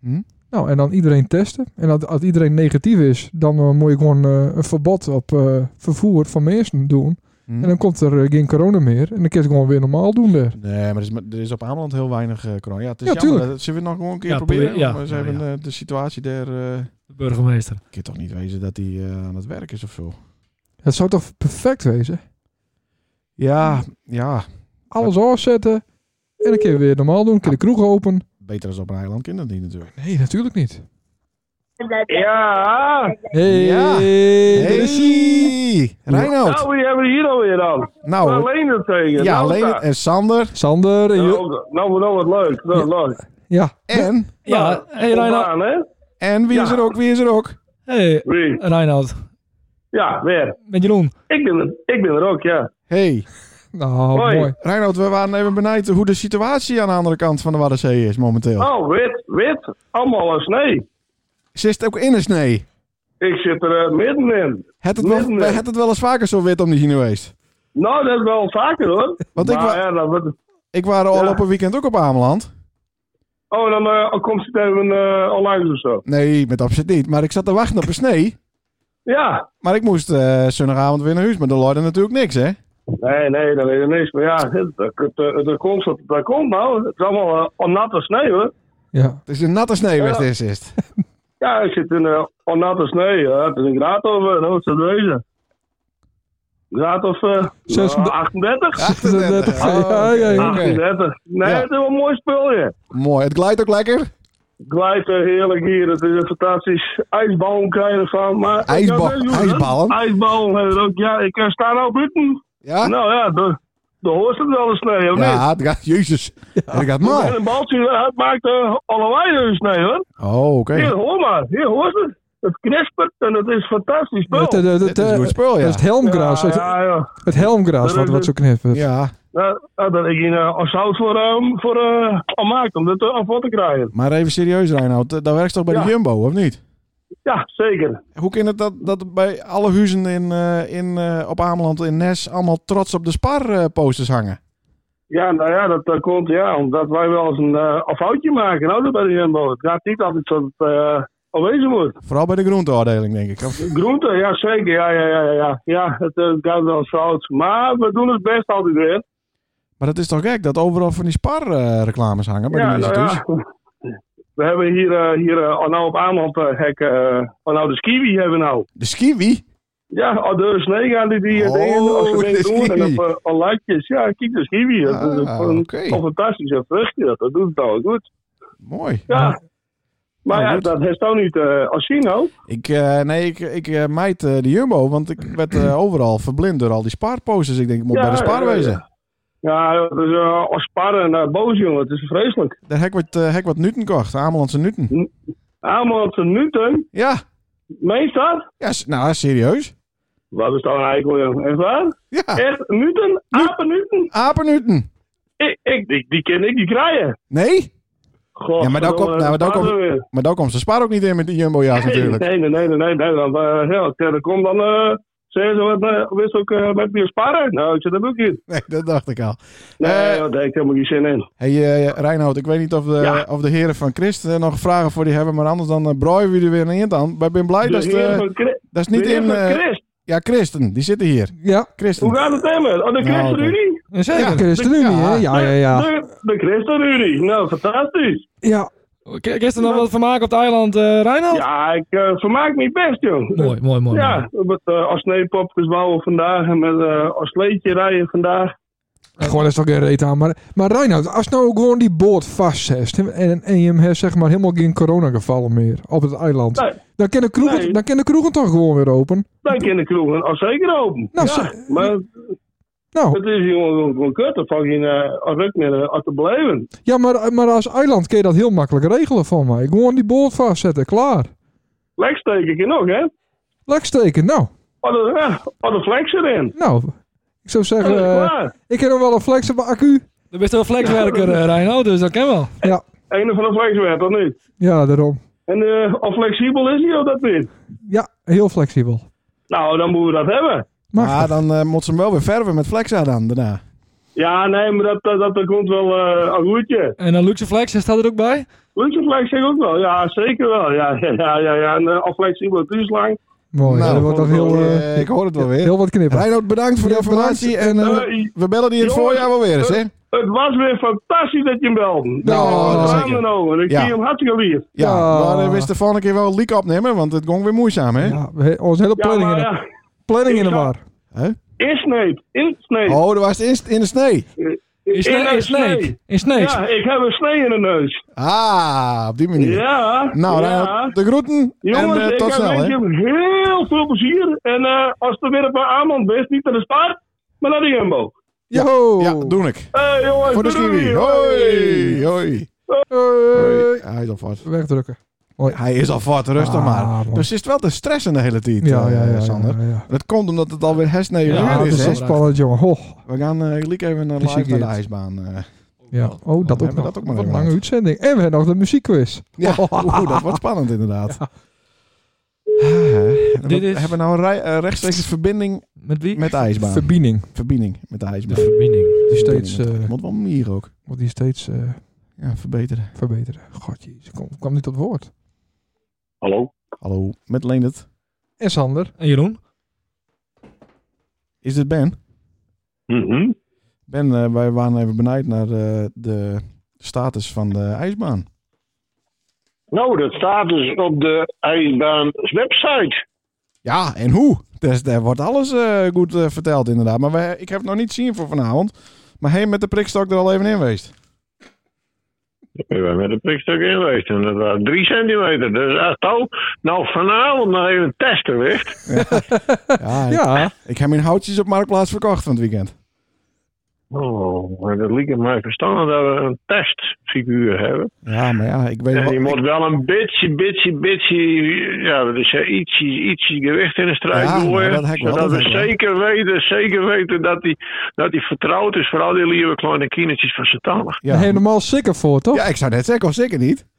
S1: Hm?
S2: Nou, en dan iedereen testen. En als, als iedereen negatief is, dan eh, moet je gewoon eh, een verbod op eh, vervoer van mensen doen.
S1: Hm?
S2: En dan komt er eh, geen corona meer. En dan kun je het gewoon weer normaal doen daar.
S1: Nee, maar er is, maar er is op Ameland heel weinig eh corona. Ja, het is
S2: Ja,
S1: jammer.
S2: tuurlijk.
S1: Dat- Ze willen nog gewoon een keer
S4: Ja,
S1: proberen.
S4: probeer- ja.
S1: Maar ze
S4: Ja,
S1: hebben
S4: ja.
S1: eh, de situatie daar... eh
S4: De burgemeester.
S1: ik kan toch niet wezen dat hij eh, aan het werk is of zo?
S2: Het zou toch perfect wezen?
S1: Ja, ja.
S2: Alles afzetten. En dan kun je weer normaal doen. Dan kun je de kroeg open.
S1: Beter als op een eiland kinderen die natuurlijk.
S2: Nee, natuurlijk niet.
S3: Ja,
S2: Hey,
S1: Ja.
S2: daar is ie.
S1: Hey! Reinoud!
S3: nou, wie hebben we hier alweer dan?
S1: Nou,
S3: alleen het tegen.
S1: ja,
S3: nou,
S1: alleen
S3: nou,
S1: en Sander
S2: Sander en Jo-
S3: Nou, nou, nou, wat leuk. Nou, wat leuk.
S2: Ja.
S1: en,
S4: Ja,
S3: Nou,
S4: hey Reinoud.
S3: spontaan, hè?
S1: en wie is
S3: Ja.
S1: er ook, wie is er ook?
S4: Hey
S3: Wie?
S4: Reinoud.
S3: Ja, weer.
S4: Met Jeroen.
S3: Ik ben, er- ik ben er ook, ja.
S1: Hey,
S2: Nou,
S3: Hoi.
S2: mooi.
S1: Reinoud, we waren even benijd hoe de situatie aan de andere kant van de Waddenzee is momenteel.
S3: Oh, wit, wit. Allemaal als nee.
S1: Zit het ook in de snee?
S3: Ik zit er eh, middenin.
S1: Het het, wel,
S3: Nee, nee.
S1: we- het het wel eens vaker zo wit om die hier geweest.
S3: Nou, dat is wel vaker hoor.
S1: Want ik
S3: maar,
S1: wa-
S3: ja, dan wordt het-
S1: Ik was al
S3: Ja.
S1: op een weekend ook op Ameland.
S3: Oh, dan eh, komt het even eh, onlangs of zo.
S1: Nee, met opzet niet. Maar ik zat te wachten op een snee.
S3: Ja.
S1: Maar ik moest eh zondagavond weer naar huis. Maar de Lloyd natuurlijk niks, hè?
S3: Nee, nee, dat weet ik niks. Maar ja, dat, dat, dat, dat komt, dat, dat komt nou. Het is allemaal eh, onnatte sneeuw hoor.
S2: Ja.
S1: Het is een natte sneeuw,
S3: Ja.
S1: is dit, is het.
S3: Ja, ik zit in eh onnatte sneeuw. Ja. Het is een graad of, eh, nou, wat zou het wezen? Een graad of eh,
S2: Zes-
S3: nou, 38?
S1: Oh,
S2: Ja, ja, ja.
S1: oké.
S3: 38. Nee,
S1: Ja.
S3: het is wel een mooi spulje.
S1: Mooi. Het glijdt ook lekker.
S3: Het glijdt eh, heerlijk hier. Het is een fantastisch. Ijsballen krijgen ervan. Maar ik kan het
S1: Ijsba-
S3: best doen, hè.
S1: ijsballen?
S3: Ijsballen hebben we ook. Ja, ik eh, sta nou buiten.
S1: Ja?
S3: Nou ja, de, de hoort het wel eens sneeuw, of niet?
S1: Ja, het gaat, jezus. Het gaat
S3: En
S1: maar.
S3: een baltje, eh, het maakt eh, allebei een sneeuw, hoor.
S1: Oh, oké.
S3: Hier, hoor maar. Hier, hoort het. Het knispert en het is fantastisch spul.
S2: Het, het, het,
S1: Dit is
S2: eh,
S1: een goed spul,
S2: dat
S1: ja.
S2: is het helmgras.
S3: ja,
S2: Het,
S3: ja, ja.
S2: het helmgras wat, wat zo knippert.
S1: Ja,
S3: Nou, nou, dat ik hier eh, een zout voor, eh, voor eh, al maak, om dit eh, af wat te krijgen.
S1: maar even serieus, Reinoud. eh, Dat werkt toch bij
S3: Ja.
S1: de Jumbo, of niet?
S3: Ja, zeker.
S1: Hoe kan het dat, dat bij alle huizen in, eh, in, eh, op Ameland in Nes allemaal trots op de Spar-posters hangen?
S3: Ja, nou ja, dat eh, komt ja, omdat wij wel eens een eh afhoutje maken, nou, dat bij de Jumbo. Het gaat niet altijd zo dat het eh, alwezen wordt.
S1: Vooral bij de groenteafdeling, denk ik. Of-
S3: Groente, ja, zeker. Ja, ja, ja, ja, ja. ja het eh, gaat wel eens fout. Maar we doen het best altijd weer.
S1: Maar dat is toch gek dat overal van die Spar-reclames hangen bij de
S3: Ja,
S1: mensen
S3: nou
S1: thuis?
S3: ja. We hebben hier, eh, hier eh, nou op Aanland eh hekken, eh, oh, nou de skiwi hebben we nou.
S1: De skiwi?
S3: Ja, al de snee gaan die, die eh,
S1: Oh,
S3: dingen als ze
S1: de
S3: dingen doen en
S1: skiwi.
S3: op eh, al latjes. Ja, kijk de skiwi. Dat is een,
S1: Ah,
S3: een,
S1: oké.
S3: een fantastische vruchtje, dat, dat doet het al goed.
S1: Mooi.
S3: Ja. Maar
S1: Nou,
S3: ja,
S1: Ah. goed.
S3: dat heeft ook niet eh als zien ook.
S1: Ik, eh, nee, ik, ik eh, mijd eh, de Jumbo, want ik werd eh, overal verblind door al die Spar-posters. Ik denk, ik moet
S3: Ja,
S1: bij de Spar
S3: ja, ja.
S1: wezen.
S3: Ja, dat is eh Ospar en eh, boos, jongen. Het is vreselijk.
S1: Daar heb ik wat, eh, heb ik wat Nuten kocht. Amelandse Nuten.
S3: Amelandse Nuten,
S1: Ja.
S3: meen je dat?
S1: ja, s- nou serieus.
S3: Wat is dat een eikel, jongen? Echt waar?
S1: Ja,
S3: Echt, Nuten? Apennuten?
S1: apennuten.
S3: Ik, ik, die, die ken ik, die krijgen.
S1: Nee,
S3: God,
S1: Ja, maar daar komt- nou, maar daar komt-
S3: weer.
S1: maar daar komt ze spaar ook niet in met die jumbo-jas
S3: Nee,
S1: natuurlijk.
S3: nee, nee, nee, nee, nee. Dan, eh, ja, dan komt dan... eh Zeggen ze, wat, eh, wist ook eh, met je sparren? Nou, ik zit er ook in.
S1: Nee, dat dacht ik al.
S3: Nee,
S1: Eh.
S3: daar heb ik helemaal geen zin in.
S1: Hey eh, Reinoud, ik weet niet of de,
S3: Ja.
S1: of de heren van Christ eh, nog vragen voor die hebben, maar anders dan eh, braaien we er weer een eind aan. Maar ik ben blij dat
S3: De
S1: ze
S3: heer
S1: eh,
S3: Dus van Chris-
S1: dat ze
S3: de
S1: niet
S3: heer
S1: in...
S3: van
S1: eh,
S3: Chris.
S1: ja, Christen, die zitten hier.
S2: Ja,
S1: Christen.
S3: Hoe gaat het hem? Oh, de ChristenUnie?
S4: Zeker.
S2: ja ChristenUnie,
S1: Ja.
S2: hè? Ah, Ja, ja, ja.
S3: De, de ChristenUnie. Nou, fantastisch.
S2: Ja,
S4: K- Kun je er nog wat van maken op het eiland, eh Reinoud?
S3: Ja, ik eh, vermaak me best, jong.
S4: Mooi, mooi, mooi.
S3: Ja, met eh als sneeuwpopjes bouwen vandaag en met eh als sleetje rijden vandaag.
S2: gewoon dat is toch geen reet aan. Maar, maar Reinoud, als nou gewoon die boot vastzet en, en, en je hem hebt, zeg maar helemaal geen coronagevallen meer op het eiland,
S3: Nee.
S2: dan kunnen de kroegen,
S3: Nee.
S2: dan kunnen de kroegen toch gewoon weer open?
S3: Dan kan de kroegen al zeker open.
S2: Nou,
S3: ja,
S2: ze-
S3: maar
S2: Nou,
S3: het is gewoon gewoon- gewoon kut. Dan vang je een ruk meer eh, aan te blijven.
S2: ja, maar, maar als eiland kun je dat heel makkelijk regelen van mij. Gewoon die boot vastzetten, klaar.
S3: Lek steek ik je nog, hè?
S2: Lek steken, nou.
S3: Wat de, ja, wat de flex erin.
S2: Nou, ik zou
S3: Dat
S2: zeggen,
S3: is
S2: eh,
S3: klaar.
S2: ik heb nog wel een flex op mijn accu.
S4: Dan ben je toch een flexwerker, eh, Reinoud, dus dat kan wel.
S3: Een van de flex werd dat niet.
S2: Ja, daarom.
S3: En eh of flexibel is hij of dat niet?
S2: Ja, heel flexibel.
S3: Nou, dan moeten we dat hebben.
S2: Maar
S1: Maar dan eh, moet ze hem wel weer verven met Flexa dan daarna.
S3: Ja, nee, maar dat, dat, dat komt wel eh een goedje.
S4: En dan Luxe Flex, staat er ook bij?
S3: Luxemburg zeg ik ook wel. Ja, zeker wel. Ja, ja, ja. ja. En uh, flexibel toeslang.
S2: mooi,
S1: Nou,
S2: dat wordt dan
S3: dat
S2: heel,
S3: wordt,
S2: eh,
S1: Eh, ik hoor het wel weer.
S2: heel wat knippen.
S1: Reinoud, bedankt voor de
S2: Ja, bedankt.
S1: informatie. En eh,
S3: Eh,
S1: we bellen die in het
S3: jongens,
S1: voorjaar wel weer eens, hè?
S3: eh, Het was weer fantastisch dat je hem belde.
S1: Nou,
S3: dat
S1: dat
S3: was
S1: zeker.
S3: over. Ik
S1: Ja.
S3: zie hem hartstikke weer.
S1: Ja,
S2: Ja.
S1: maar eh, we wisten de volgende keer wel een leak opnemen, want het ging weer moeizaam, hè?
S2: Ja, we, oh, onze hele
S3: Ja,
S2: planning,
S3: maar
S2: in, de-
S3: ja.
S2: planning in de
S3: Ik zou-
S2: war.
S1: Hè?
S3: Insneed. Insneed.
S1: Oh, dat was het in, in de snee.
S4: In Sne-
S3: een
S4: in Snake. In Snake.
S3: Ja, ik heb een snee in de neus.
S1: Ah, op die manier.
S3: Ja.
S1: Nou,
S3: ja.
S1: Reinoud, de groeten
S3: Jongens,
S1: en eh,
S3: ik
S1: tot
S3: heb
S1: snel,
S3: weet
S1: hè?
S3: je, heel veel plezier. En eh, als er weer een paar aanband bent, niet naar de spaar, maar naar de Jumbo.
S1: Ja,
S2: Yo!
S1: Ja, doe ik.
S3: Hey, jongens,
S1: Voor de
S3: doei,
S1: skiwi.
S3: doei.
S1: Hoi, hoi.
S2: Hoi.
S1: Hoi. Hij is al vast.
S2: Wegdrukken.
S1: Hij is al vast, rustig
S2: Ah,
S1: maar.
S2: man.
S1: Dus is het wel te stressen de hele tijd, eh,
S2: Ja, ja, ja, ja,
S1: Sander.
S2: ja, ja.
S1: Dat komt omdat het alweer hersenen
S4: Ja,
S2: Ja,
S1: uur
S2: dat
S1: is,
S2: is
S1: hè?
S2: wel spannend, jongen. Ho.
S1: We gaan eh gelijk even naar live
S2: Muziek
S1: naar de
S2: eerst.
S1: ijsbaan. eh.
S2: Ja. Oh, dat
S1: hebben
S2: ook
S1: we
S2: nog.
S1: dat ook maar
S2: Wat een
S1: even
S2: lange uitzending. En we hebben nog de muziekquiz. Oh,
S1: Ja, oeh, dat wordt spannend inderdaad.
S2: Ja.
S1: Dit
S4: Dit is-
S1: Hebben we nou een rij- eh, rechtstreeks verbinding
S4: Met wie?
S1: met de ijsbaan?
S2: Verbinding.
S1: Verbinding met de
S4: de
S1: ijsbaan.
S4: verbinding.
S2: Die
S1: Verbinding
S2: steeds,
S1: met de
S2: eh,
S1: ijsbaan. Moet wel meer ook.
S2: Want die steeds eh,
S1: Ja, verbeteren.
S2: verbeteren. Godje, ze kwam, kwam niet tot woord.
S3: Hallo.
S1: Hallo, met Leendert.
S2: En Sander.
S4: En Jeroen?
S1: Is dit Ben?
S3: Mhm.
S1: Ben, eh, wij waren even benijd naar eh, de status van de ijsbaan.
S6: Nou, dat staat dus op de ijsbaans website.
S1: Ja, en hoe? Dus daar wordt alles eh, goed eh, verteld inderdaad. Maar wij, ik heb het nog niet zien voor vanavond. Maar heen met de prikstok er al even in geweest.
S6: Ik ben met een prikstuk in geweest en dat was drie centimeter. Dus als touw nou vanavond nog even testen wist.
S1: Ja, ik,
S2: Ja.
S1: ik heb mijn houtjes op Marktplaats verkocht van het weekend.
S6: Oh, maar dat liet mij verstaan dat we een testfiguur hebben.
S1: Ja, maar ja, ik weet
S6: En je
S1: wel...
S6: moet wel een beetje, beetje, beetje, ja, dat is ja, ietsje, ietsje gewicht in de strijd
S1: Ja,
S6: gooien.
S1: nou, dat heb ik wel,
S6: zodat
S1: dat
S6: we
S1: heb ik wel.
S6: zeker weten, zeker weten dat hij dat die vertrouwd is. Vooral die lieve kleine kindertjes van Satanig.
S2: Daar
S1: ja.
S2: helemaal sikker voor, toch?
S1: ja, ik zou net zeggen, of zeker niet.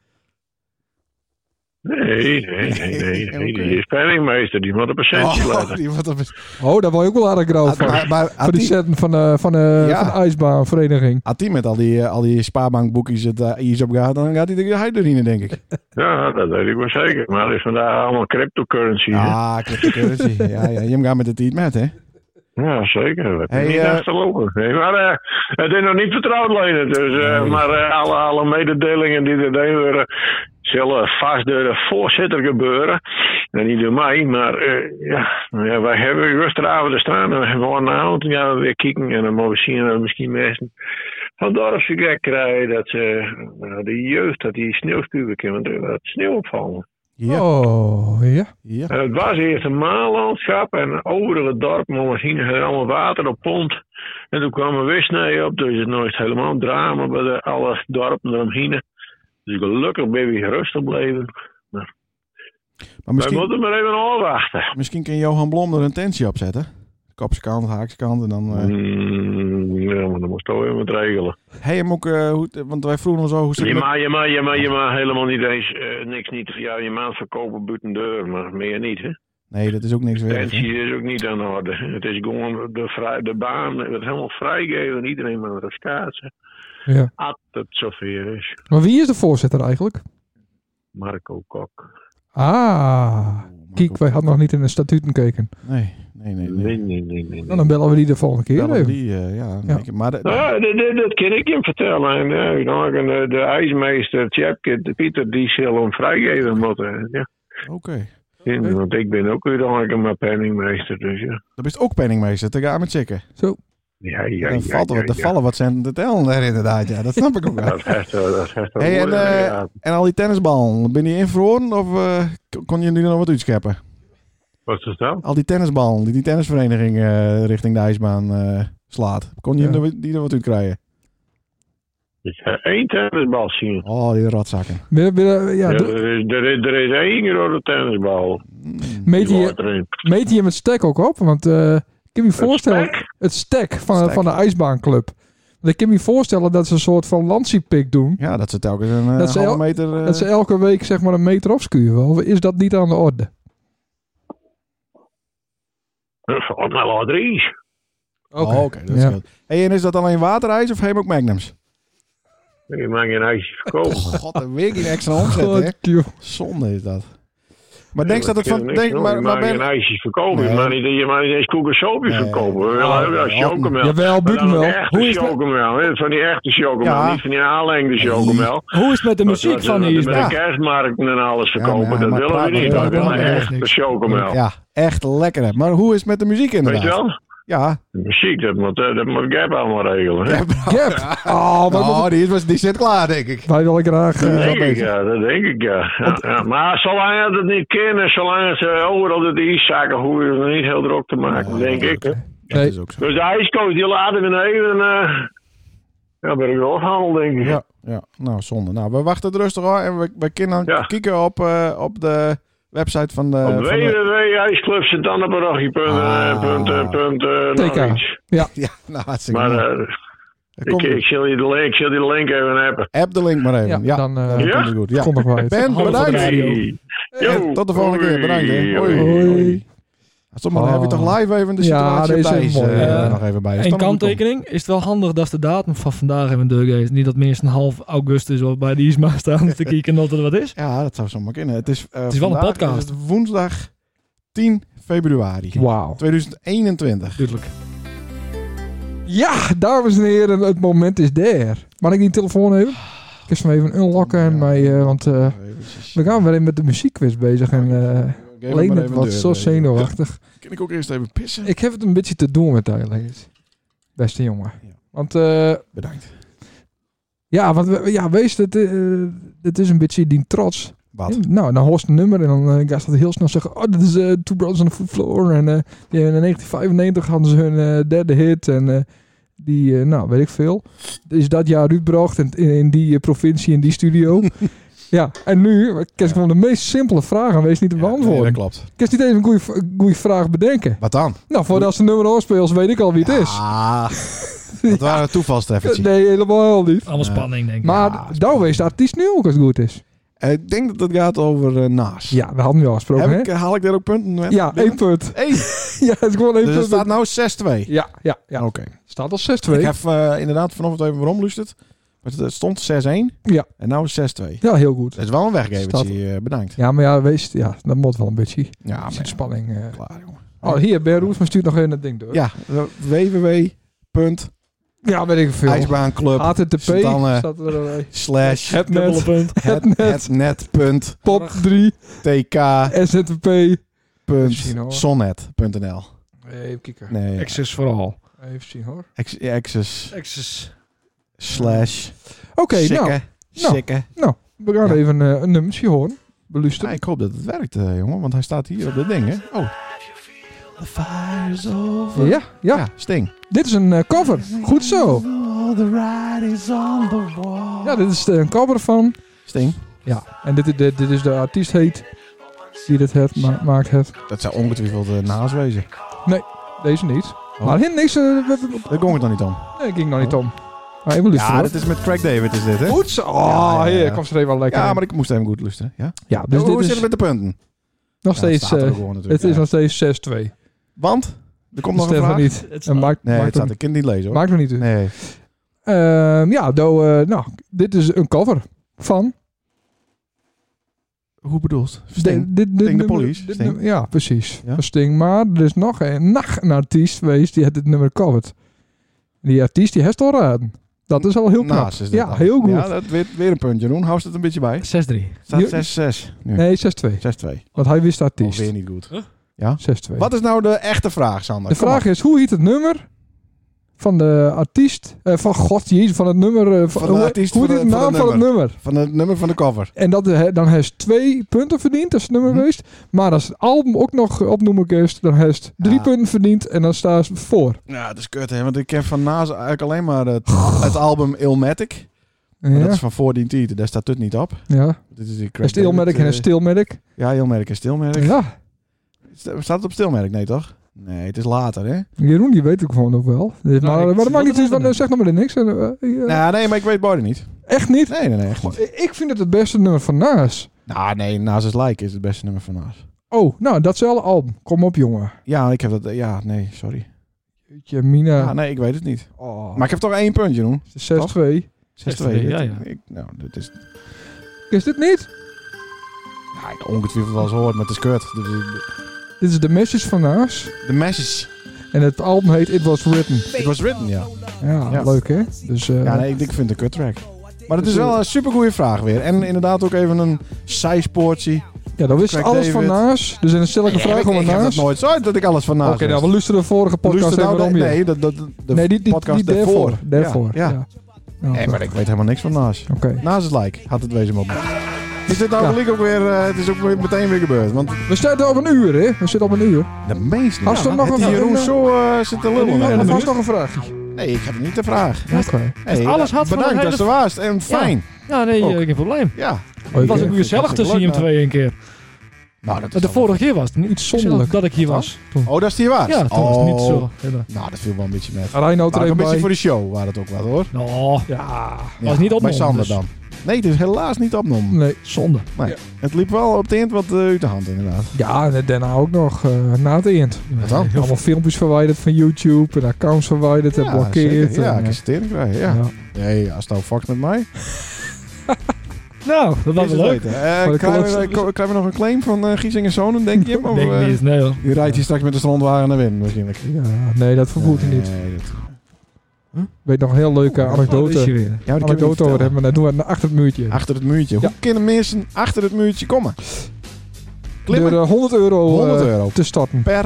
S6: Nee, nee, nee, nee. nee. Die is penningmeester, die moet een patiëntje
S1: Oh,
S6: laten.
S1: die wordt op...
S2: Oh, daar word je ook wel aardig grauw van.
S1: Maar, maar
S2: Van
S1: Ati-
S2: die zetten van, eh, van, eh,
S1: Ja.
S2: van de ijsbaanvereniging.
S1: Ati met al die, eh, al die spaarbankboekjes het eh, is op gaat, dan gaat hij de hij erin, denk ik.
S6: Ja, dat weet ik wel zeker. Maar dat is vandaag allemaal cryptocurrency. hè?
S1: Ah, cryptocurrency. ja, ja, je gaat met het niet met, hè?
S6: Ja, zeker. Dat is
S1: Hey,
S6: niet
S1: eh,
S6: achterlopen. Nee, maar eh, het is nog niet vertrouwd, Lenen. Dus, eh, Maar eh, alle, alle mededelingen die er deden worden, zullen vast door de voorzitter gebeuren. En niet door mij, maar eh, ja, Nou ja, wij hebben gisteravond de straat en we hebben vanavond gaan we weer kijken. En dan mogen we zien dat we misschien mensen van dorpsvergek krijgen. Dat ze, eh, de jeugd, dat die sneeuwspuwen kunnen, dat sneeuw opvallen.
S1: Ja.
S2: Oh, ja.
S1: Ja.
S3: En het was eerst een maanlandschap en overige dorpen, maar misschien had er allemaal water op pond. En toen kwam er weer sneeuw op, dus het nooit helemaal een drama bij de, alle dorpen eromheen. Dus gelukkig ben ik rustig gebleven.
S1: Maar
S3: We
S1: misschien,
S3: moeten maar even afwachten.
S1: misschien kan Johan Blom er een tentje op zetten. Kopse kant, haakse kant en dan... eh,
S3: Mm, ja, maar dan moest toch even wat regelen.
S1: Hey, hem ook, eh, hoe, want wij vroegen ons al hoe zit
S3: Je
S1: het met-
S3: mag, je mag, je mag, je mag helemaal niet eens eh, niks niet. Ja, je maand verkopen buiten deur, maar meer niet. Hè?
S1: Nee, dat is ook niks weer. hè?
S3: Tensie is ook niet aan de orde. Het is gewoon de, vrij, de baan, het wordt helemaal vrijgeven. Iedereen mag er schaatsen.
S2: ja.
S3: At het zover is.
S2: Maar wie is de voorzitter eigenlijk?
S3: Marco Kok.
S2: Ah, Kiek, wij hadden nog niet in de statuten gekeken.
S1: Oh, Nee, nee, nee.
S3: Nee,
S1: nee.
S3: nee, nee. nee,
S2: Nou,
S3: nee.
S2: dan bellen we die de volgende keer
S1: Wel,
S2: even.
S1: die, eh, ja,
S2: Ja.
S1: ik- maar de-
S3: Ah, dat, dat, dat kan ik hem vertellen. En, eh, dan kan de, de ijsmeester Tjepke, de Pieter, die zal hem vrijgeven moeten. Ja.
S1: oké.
S3: Ja, Want ik ben ook weer dan maar penningmeester. Dus ja.
S1: Dan ben je ook penningmeester, te gaan met checken.
S3: Ja, ja,
S1: dan
S3: ja,
S1: valt er,
S3: ja,
S1: er
S3: ja.
S1: vallen wat centen te tellen daar inderdaad, ja. Dat snap ik ook wel.
S3: Dat heeft wel- dat heeft wel
S1: Hey, en,
S3: woorden,
S1: eh,
S3: ja.
S1: en al die tennisballen, ben je invroren of eh, k- kon je nu nog wat uitscheppen?
S3: Wat is dat?
S1: Al die tennisballen die die tennisvereniging eh, richting de ijsbaan eh, slaat, kon je
S2: Ja.
S1: er wat- die er wat uit krijgen?
S3: Ik ga één tennisbal zien.
S1: Oh, die rotzakken.
S2: Willen- willen- ja,
S3: Ja, eh,
S2: doe-
S3: er, is, er, is, er is één grote tennisbal.
S1: Mm.
S2: meet,
S3: Die
S2: je,
S3: wordt erin.
S2: meet je hem het stek ook op? Want eh, ik kan me voorstellen...
S3: Het spek?
S2: Het stek van,
S1: Stek.
S2: van de ijsbaanclub. Want ik kan me voorstellen dat ze een soort van lansiepik doen.
S1: Ja, dat ze telkens een eh,
S2: Dat ze
S1: halve
S2: el-
S1: meter... eh,
S2: Dat ze elke week zeg maar een meter opschuiven. Of is dat niet aan de orde?
S3: Dat valt mij wel drie.
S2: Oké,
S1: Oh, oké, dat
S2: ja.
S1: scheelt. Hey, en is dat alleen waterijs of hem ook magnums?
S3: Je mag geen ijsje verkopen.
S1: God, er weer geen extra omzet, hè?
S2: God, joh.
S1: Zonde is dat. Maar denk je dat het van...
S3: Niks
S1: Denk,
S3: doen.
S1: maar,
S3: je
S1: maar
S3: mag
S1: ben,
S3: geen ijsjes verkopen.
S1: Nee.
S3: Je, mag niet, je mag niet eens koekensoopjes
S1: Nee.
S3: verkopen. We willen
S1: Oh,
S3: ook wel
S1: nee.
S3: chocomel.
S2: Jawel,
S3: Maar dan
S2: buiten
S3: een
S2: wel.
S3: echte
S4: Hoe is dat-
S3: chocomel, hè. Van die echte chocomel.
S1: Ja.
S3: Niet van die aanlengde chocomel.
S4: Hoe is het met de
S3: Wat-
S4: muziek
S3: wat-
S4: van
S3: wat-
S4: die
S3: Met de
S1: Ja.
S3: kerstmarkten en alles verkopen.
S1: maar-
S3: dat
S1: maar
S3: willen
S1: praat
S3: we
S1: maar
S3: niet.
S1: door,
S3: We willen
S1: praat maar
S3: echt
S4: door.
S3: de chocomel.
S1: ja, echt lekker. hè. Maar hoe is het met de muziek
S3: Weet je
S1: inderdaad?
S3: wel?
S1: Ja.
S3: De muziek, dat moet, eh, dat moet Gap allemaal regelen. hè.
S2: Gap. Oh, wij,
S1: Oh, die, is, die zit klaar, denk ik.
S2: wij willen graag... eh,
S3: Dat
S1: wel
S3: denk ik,
S1: bezig.
S3: ja, dat denk ik, ja. ja, ja. Maar zolang het het niet kennen, zolang ze overal de ijszaken hoeven het niet heel druk te maken,
S1: Nee,
S3: denk ik. hè.
S1: Dat
S2: Nee.
S1: is ook zo.
S3: Dus de ijskoos, die laten we even, eh ja, bij de afhandel, denk ik.
S1: Ja, ja, nou zonde. Nou, we wachten het rustig hoor. En we, we kunnen
S3: Ja.
S1: kijken op, eh, op de website van de...
S3: Op
S1: eh, van de-
S3: eh,
S1: Ah.
S3: www.ijsclubsentannenparochie.nl
S2: Ja,
S1: ja, nou hartstikke
S3: eh, Maar
S1: mooi.
S3: eh,
S1: Dan
S3: ik,
S1: komt-
S3: ik, zal je de link, ik zal die link even hebben.
S1: App de link maar even. Ja,
S2: ja, dan eh
S1: dan
S3: Ja?
S1: komt het goed. Ja.
S2: kom ik wel uit.
S1: Ben,
S4: Halve
S1: bedankt.
S4: draai.
S3: Hey. Yo.
S1: En tot de volgende keer. Bedankt, hè. Hoi.
S2: Hoi.
S1: Sommige
S2: Oh.
S1: hebben toch live even de
S2: Ja,
S1: situatie op
S2: deze
S1: de
S2: is
S1: ijs,
S2: mooi,
S1: eh,
S4: ja.
S1: er nog even bij. Dus
S4: En
S1: dan moet het
S4: kanttekening is het wel handig dat de datum van vandaag even deur is. Niet dat minstens half augustus of bij de ISMA staan te kijken dat er wat is.
S1: komen. Ja, dat zou zomaar kunnen. Het is, eh,
S4: Het is wel een
S1: vandaag
S4: podcast.
S1: Is het woensdag 10 februari
S2: Wauw.
S1: 2021.
S4: Tuurlijk.
S2: Ja, dames en heren, het moment is daar. Mag ik die telefoon even? Ik eens hem even unlocken. en mij, eh, want eh, we gaan weer in met de muziekquiz bezig. En eh Leen het wat
S1: eh,
S2: zo zenuwachtig.
S1: Kan ik ook eerst even pissen?
S2: Ik heb het een beetje te doen met eigenlijk. Beste jongen.
S1: Ja.
S2: Want eh,
S1: Bedankt.
S2: ja, want we- ja, wees, het, eh, het is een beetje die trots.
S1: Wat?
S2: Nou, dan hoort een nummer en dan eh, gaat ze dat heel snel zeggen... Oh, dit is eh, Two Brothers on the Foot Floor. En eh, die in 1995 hadden ze hun eh, derde hit. En eh, die, eh, nou, weet ik veel, Dus is dat jaar uitgebracht in, in, in die eh, provincie, in die studio. ja, en nu, ik kan gewoon de meest simpele vraag en wees niet te
S1: Ja, nee,
S2: beantwoorden.
S1: dat klopt.
S2: ik kan niet even een goeie v- goeie vraag bedenken.
S1: Wat dan?
S2: Nou, voordat ze een nummer oorspeelt, weet ik al wie het is.
S1: Ah, dat waren toevalstreffertjes.
S2: Nee, helemaal niet.
S4: Allemaal
S1: Ja.
S4: spanning, denk ik.
S2: Maar
S1: Ja,
S2: dan wees de artiest nu ook als het goed is.
S1: Eh, Ik denk dat het gaat over eh, Naas.
S2: Ja, we hadden we al gesproken,
S1: Heb
S2: hè?
S1: ik, haal ik daar ook punten mee?
S2: Ja, één punt.
S1: Eén.
S2: Ja, het is gewoon één
S1: Dus het
S2: punt.
S1: staat nou 6-2.
S2: Ja, ja, ja.
S1: Oké.
S2: Staat al 6-2.
S1: Oh. Ik heb eh, inderdaad vanochtend even waarom luisterd. Maar het stond 6-1.
S2: Ja.
S1: En nou 6-2.
S2: Ja, heel goed.
S1: Dat is wel een weggevertje. eh, bedankt.
S2: Ja, maar ja, wees, ja, dat moet wel een beetje.
S1: Ja,
S2: Ja,
S1: Ah, maar ja,
S2: spanning. eh.
S1: klaar jongen.
S2: Oh, hier, Ben Roesma stuurt nog even het ding door.
S1: Ja, www.ijsbaanclub
S2: ja weet ik veel. HTTP
S1: Zit dan, eh,
S2: staat er al bij.
S1: slash
S4: Dubbele
S2: Hetnet,
S4: punt.
S1: het- hetnet.tk
S2: pop 3, SZP.
S1: punt sonnet.nl.
S2: Even kijken.
S1: Nee,
S4: Access vooral.
S2: Even zien hoor.
S1: ex- access
S4: Access.
S1: slash
S2: Oké, nou,
S1: sikke,
S2: nou.
S1: sikke.
S2: we gaan
S1: Ja.
S2: even eh, een nummertje horen. beluisteren.
S1: Ja, ik hoop dat het werkt, eh, jongen, want hij staat hier op dit ding, hè? Oh. The fire's over.
S2: Ja, ja,
S1: Sting.
S2: dit is een eh, cover. Goed zo.
S1: All the ride is on the wall.
S2: Ja, dit is eh, een cover van.
S1: Sting.
S2: Ja, en dit, dit, dit is de artiest heet. Die dit het, ma- maakt het.
S1: Dat zou ongetwijfeld eh naast wezen.
S2: Deze niet.
S1: Oh.
S2: Maar hint niks. eh, we- we-
S1: Daar ging het dan niet om.
S2: nee, ik ging nog niet om. Maar even
S1: Oh.
S2: luisteren.
S1: Ja,
S2: hoor.
S1: dat is met Craig David, is dit, hè?
S2: Goed zo. Oh,
S1: Ja, ja, ja.
S2: heer, kom ze er even wel lekker
S1: Ja,
S2: in.
S1: maar ik moest even goed luisteren. Ja?
S2: ja,
S1: Dus
S2: dus
S1: Hoe
S2: dit
S1: zit
S2: is
S1: het met de punten?
S2: nog
S1: Ja, dat
S2: steeds...
S1: staat er
S2: eh,
S1: gewoon natuurlijk,
S2: het is
S1: ja.
S2: nog steeds 6-2.
S1: Want? Er komt nog een
S2: Stefan
S1: vraag.
S2: niet.
S4: Het
S2: En
S4: staat-
S2: maakt,
S1: Nee,
S2: maakt,
S1: het
S2: ook,
S1: staat, ik kan het niet lezen, hoor.
S2: maakt ook niet uit.
S1: Nee.
S2: Ehm, ja, do, eh, nou, dit is een cover van...
S1: Hoe bedoeld?
S2: Sting, dit, dit
S1: Sting de
S2: nummer-
S1: Police.
S2: dit
S1: Sting.
S2: nummer- ja, precies.
S1: Ja.
S2: Van Sting. Maar er is nog een, nog een artiest geweest die het dit nummer covert. Die artiest die heeft het al raden. Dat is al heel knap.
S1: Naast is dit
S2: ja,
S1: dan.
S2: heel goed.
S1: Ja, dat weer, weer een puntje. Jeroen, hou ze het een beetje bij.
S4: 6-3.
S2: Jo-
S1: staat 6-6 nu.
S2: Nee, 6-2.
S1: 6-2.
S2: Want hij wist de artiest.
S1: Alweer niet goed.
S2: 6-2.
S1: Wat is nou de echte vraag, Sander?
S2: De
S1: Kom
S2: vraag
S1: op.
S2: is, hoe heet het nummer van de artiest? eh, van God, jezus, van het nummer. eh,
S1: Van de
S2: hoe-
S1: artiest,
S2: hoe
S1: van
S2: heet
S1: de-
S2: de
S1: van
S2: naam
S1: het
S2: van het nummer?
S1: Van het nummer van de cover.
S2: En dat, eh, dan heeft twee punten verdiend, dat is het nummer
S1: Mhm.
S2: geweest. Maar als het album ook nog eh, opnoemen geweest, dan heeft het drie
S1: Ja.
S2: punten verdiend en dan staat ze voor.
S1: Ja, dat is kut, hè. Want ik ken van naast eigenlijk alleen maar het, het album Ilmatic. Maar
S2: Ja,
S1: Dat is van 14 Tieten. Daar staat het niet op.
S2: ja.
S1: Dit is die Craig
S2: En Stilmerk en
S1: David,
S2: een
S1: eh,
S2: Stilmerk.
S1: Ja, Ilmatic en Stilmerk.
S2: Ja,
S1: Sta- Staat het op Stilmerk? Nee, toch? Nee, het is later, hè?
S2: Jeroen, die weet ik gewoon nog wel. Dus,
S4: Nou,
S2: maar,
S4: ik
S2: maar dat
S4: zie
S2: maakt niet
S4: dat
S2: uit, want
S4: wel.
S2: eh, zeg nog maar niks. En, eh, eh,
S1: Nou, nee, maar ik weet beide niet.
S2: Echt niet?
S1: Nee, nee, nee, echt niet.
S2: Ik- Ik vind het het beste nummer van Naas.
S1: Nou, nee, Naast is Like is het beste nummer van Naast.
S2: Oh, nou, datzelfde album. Kom op, jongen.
S1: Ja, ik heb dat... Ja, nee, sorry.
S2: Jeetje, Mina.
S1: Ja, nee, ik weet het niet.
S2: Oh.
S1: Maar ik heb toch één puntje, Jeroen.
S2: 6-2.
S1: 6-2.
S4: Ja,
S1: dit-
S4: ja.
S1: ik- nou, dit is...
S2: Is dit niet?
S1: Nou, ik heb ongetwijfeld wel eens gehoord, maar het is kut. Dus, eh,
S2: Dit is The Message van Naas.
S1: De message.
S2: En het album heet It Was Written.
S1: It was written, ja.
S2: Ja,
S1: Ja.
S2: leuk hè? Dus, eh,
S1: Ja, nee, ik, ik vind het een kut track. Maar het is wel een supergoeie vraag weer. En inderdaad ook even een zijspoortje.
S2: ja, dan wist je
S1: Craig
S2: alles van
S1: David.
S2: Naas. Dus dan stel ik een vraag om
S1: ik
S2: het
S1: heb dat
S2: Naas. Oké,
S1: nooit zo uit dat ik alles van naast
S2: nou, we luisteren de vorige podcast
S1: Luister
S2: even
S1: nou
S2: om
S1: de-
S2: je.
S1: Nee, dat, dat, de
S2: nee die, die,
S1: podcast
S2: die daarvoor.
S1: daarvoor.
S2: Daarvoor,
S1: Ja,
S2: ja.
S1: ja.
S2: Ja,
S1: Nee,
S2: oké.
S1: maar ik weet helemaal niks van naast.
S2: Oké.
S1: Naast het lijk had het wezen op. Is dit nou
S2: Ja.
S1: gelijk ook weer... eh, het is ook weer meteen weer gebeurd. Want
S2: We zitten op een uur hè? We zitten op een uur.
S1: de meeste...
S2: Als er nog
S1: heeft
S2: een-
S1: die Jeroen
S2: een-
S1: zo eh, zit te lullen.
S4: een-
S1: hè?
S2: En
S4: een- een-
S2: vast
S4: minuut?
S2: nog een vraagje.
S1: Nee, ik heb niet de vraag.
S2: Oké.
S1: Hey,
S4: Dus alles had van
S1: bedankt,
S4: een
S1: dat is de waast. En fijn.
S4: Ja, nee,
S1: Ook.
S4: eh, geen probleem.
S1: Ja.
S4: Het was ook
S2: Oké.
S4: gezellig
S1: Hartstikke
S4: tussen
S1: leuk,
S4: je
S1: nou.
S4: twee een keer.
S1: Nou, dat is
S4: De
S1: dan-
S4: vorige keer was het niet
S2: Iets zonderlijk.
S4: gezellig dat ik hier was. Toen.
S1: Oh, dat is die waast?
S4: Ja, toen was het niet
S1: Oh.
S4: zo. Ja.
S1: Nou, dat viel wel een beetje met.
S2: Reinoud er
S1: Maar ook
S2: even
S1: een beetje
S2: bij.
S1: voor de show waar het ook wat hoor.
S4: Nou,
S2: Ja.
S1: Ja,
S4: niet opgenomen,
S1: Bij Sander
S4: dus.
S1: dan. Nee, het is helaas niet opgenomen.
S2: Nee.
S4: zonde.
S1: Het liep wel op het eind wat eh, uit de hand inderdaad.
S2: Ja, en daarna ook nog eh, na het eind.
S1: Wat dan?
S2: Heel Allemaal filmpjes verwijderd van YouTube en accounts verwijderd en blokkeerd.
S1: zeker. Ja,
S2: en,
S1: ik
S2: eh,
S1: kan steren krijgen. Ja.
S2: ja.
S1: Nee, als het nou fuckt met mij.
S4: Nou, dat was
S1: is
S4: wel
S1: het
S4: leuk.
S1: weten. Eh,
S2: de
S1: krijgen, we,
S2: collectie-
S1: ko- krijgen we nog een claim van eh Giesing en Zonen, denk je? Of,
S4: Denk
S1: eh,
S4: niet, nee hoor.
S1: Die rijdt hier straks met de strandwagen naar win waarschijnlijk.
S2: Ja, nee, dat vermoed ik niet. Ik
S1: Nee, dat-
S2: weet nog een heel leuke
S4: Oh, daar is
S2: anekdote.
S4: je weer.
S1: Ja, die kunnen we niet
S2: anekdote over
S1: vertellen.
S2: hebben, maar dat doen we achter het muurtje.
S1: Achter het muurtje.
S2: Ja.
S1: Hoe kunnen mensen achter het muurtje komen?
S2: Door
S1: Klimmen.
S2: eh, 100 euro, eh,
S1: 100 euro.
S2: te starten
S1: Per.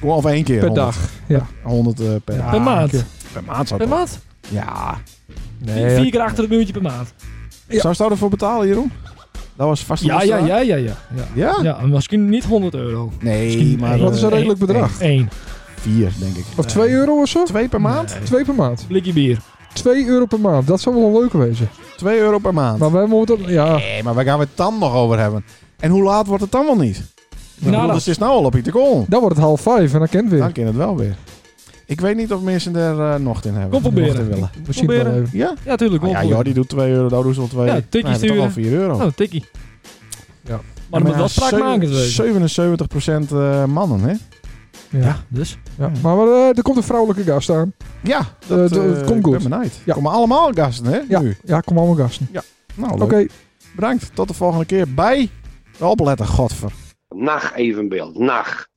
S1: Kom, Of één keer.
S2: per
S1: 100.
S2: dag.
S1: 100 eh, per,
S4: Per maand.
S1: per maand zou
S4: Per
S1: het
S4: maand?
S1: wel- Ja.
S4: Vier- Vier keer achter het muurtje per maand.
S2: Ja.
S1: Zou ze daarvoor betalen, Jeroen? Dat was vast
S4: Ja,
S1: een
S4: ja,
S1: straat.
S4: ja, ja, ja. ja.
S1: Ja?
S4: Ja, misschien niet 100 euro.
S1: Nee,
S4: Misschien
S1: maar...
S4: één.
S1: eh,
S2: Dat is een redelijk bedrag.
S4: Eén.
S1: Vier, denk ik.
S2: Of 2 euro of zo?
S1: Twee per maand?
S4: Nee.
S2: 2 per maand.
S4: Blikje bier.
S2: 2 euro per maand, dat zou wel leuk wezen.
S1: Twee euro per maand.
S2: Maar wij moeten... Ja,
S1: Nee, maar waar gaan we het dan nog over hebben? En hoe laat wordt het dan wel niet? Ik bedoel,
S4: dat-
S1: dus het is nou al op Pieter Kool.
S2: dan wordt het half vijf en dan kent weer.
S1: Dan kan het wel weer. Ik weet niet of mensen er eh, nog in hebben.
S4: Kom proberen.
S1: Nog in willen.
S2: Misschien wel
S4: proberen.
S2: even.
S1: Ja?
S4: Ja, tuurlijk.
S1: Ah, ja, joh, die doet 2 euro, daar doet ze al 2.
S4: Ja, tikkie
S1: nou, toch
S4: sturen.
S1: al 4 euro.
S4: Oh, tikkie.
S2: Ja.
S4: Maar dan moet wel
S1: spraak
S4: spraakmakend wezen.
S1: 77% eh, mannen, hè?
S2: Ja.
S4: Ja, dus.
S2: Ja. Maar eh, er komt een vrouwelijke gast aan.
S1: Ja,
S2: dat- dat
S1: eh,
S2: komt
S1: ik
S2: goed.
S1: Ben benijd.
S2: Ja.
S1: Komen allemaal gasten, hè?
S2: Ja,
S1: Nu.
S2: ja kom allemaal gasten.
S1: Nou,
S2: Oké,
S1: leuk. Bedankt. Tot de volgende keer bij de opletter, godver.
S7: Nacht evenbeeld, nacht.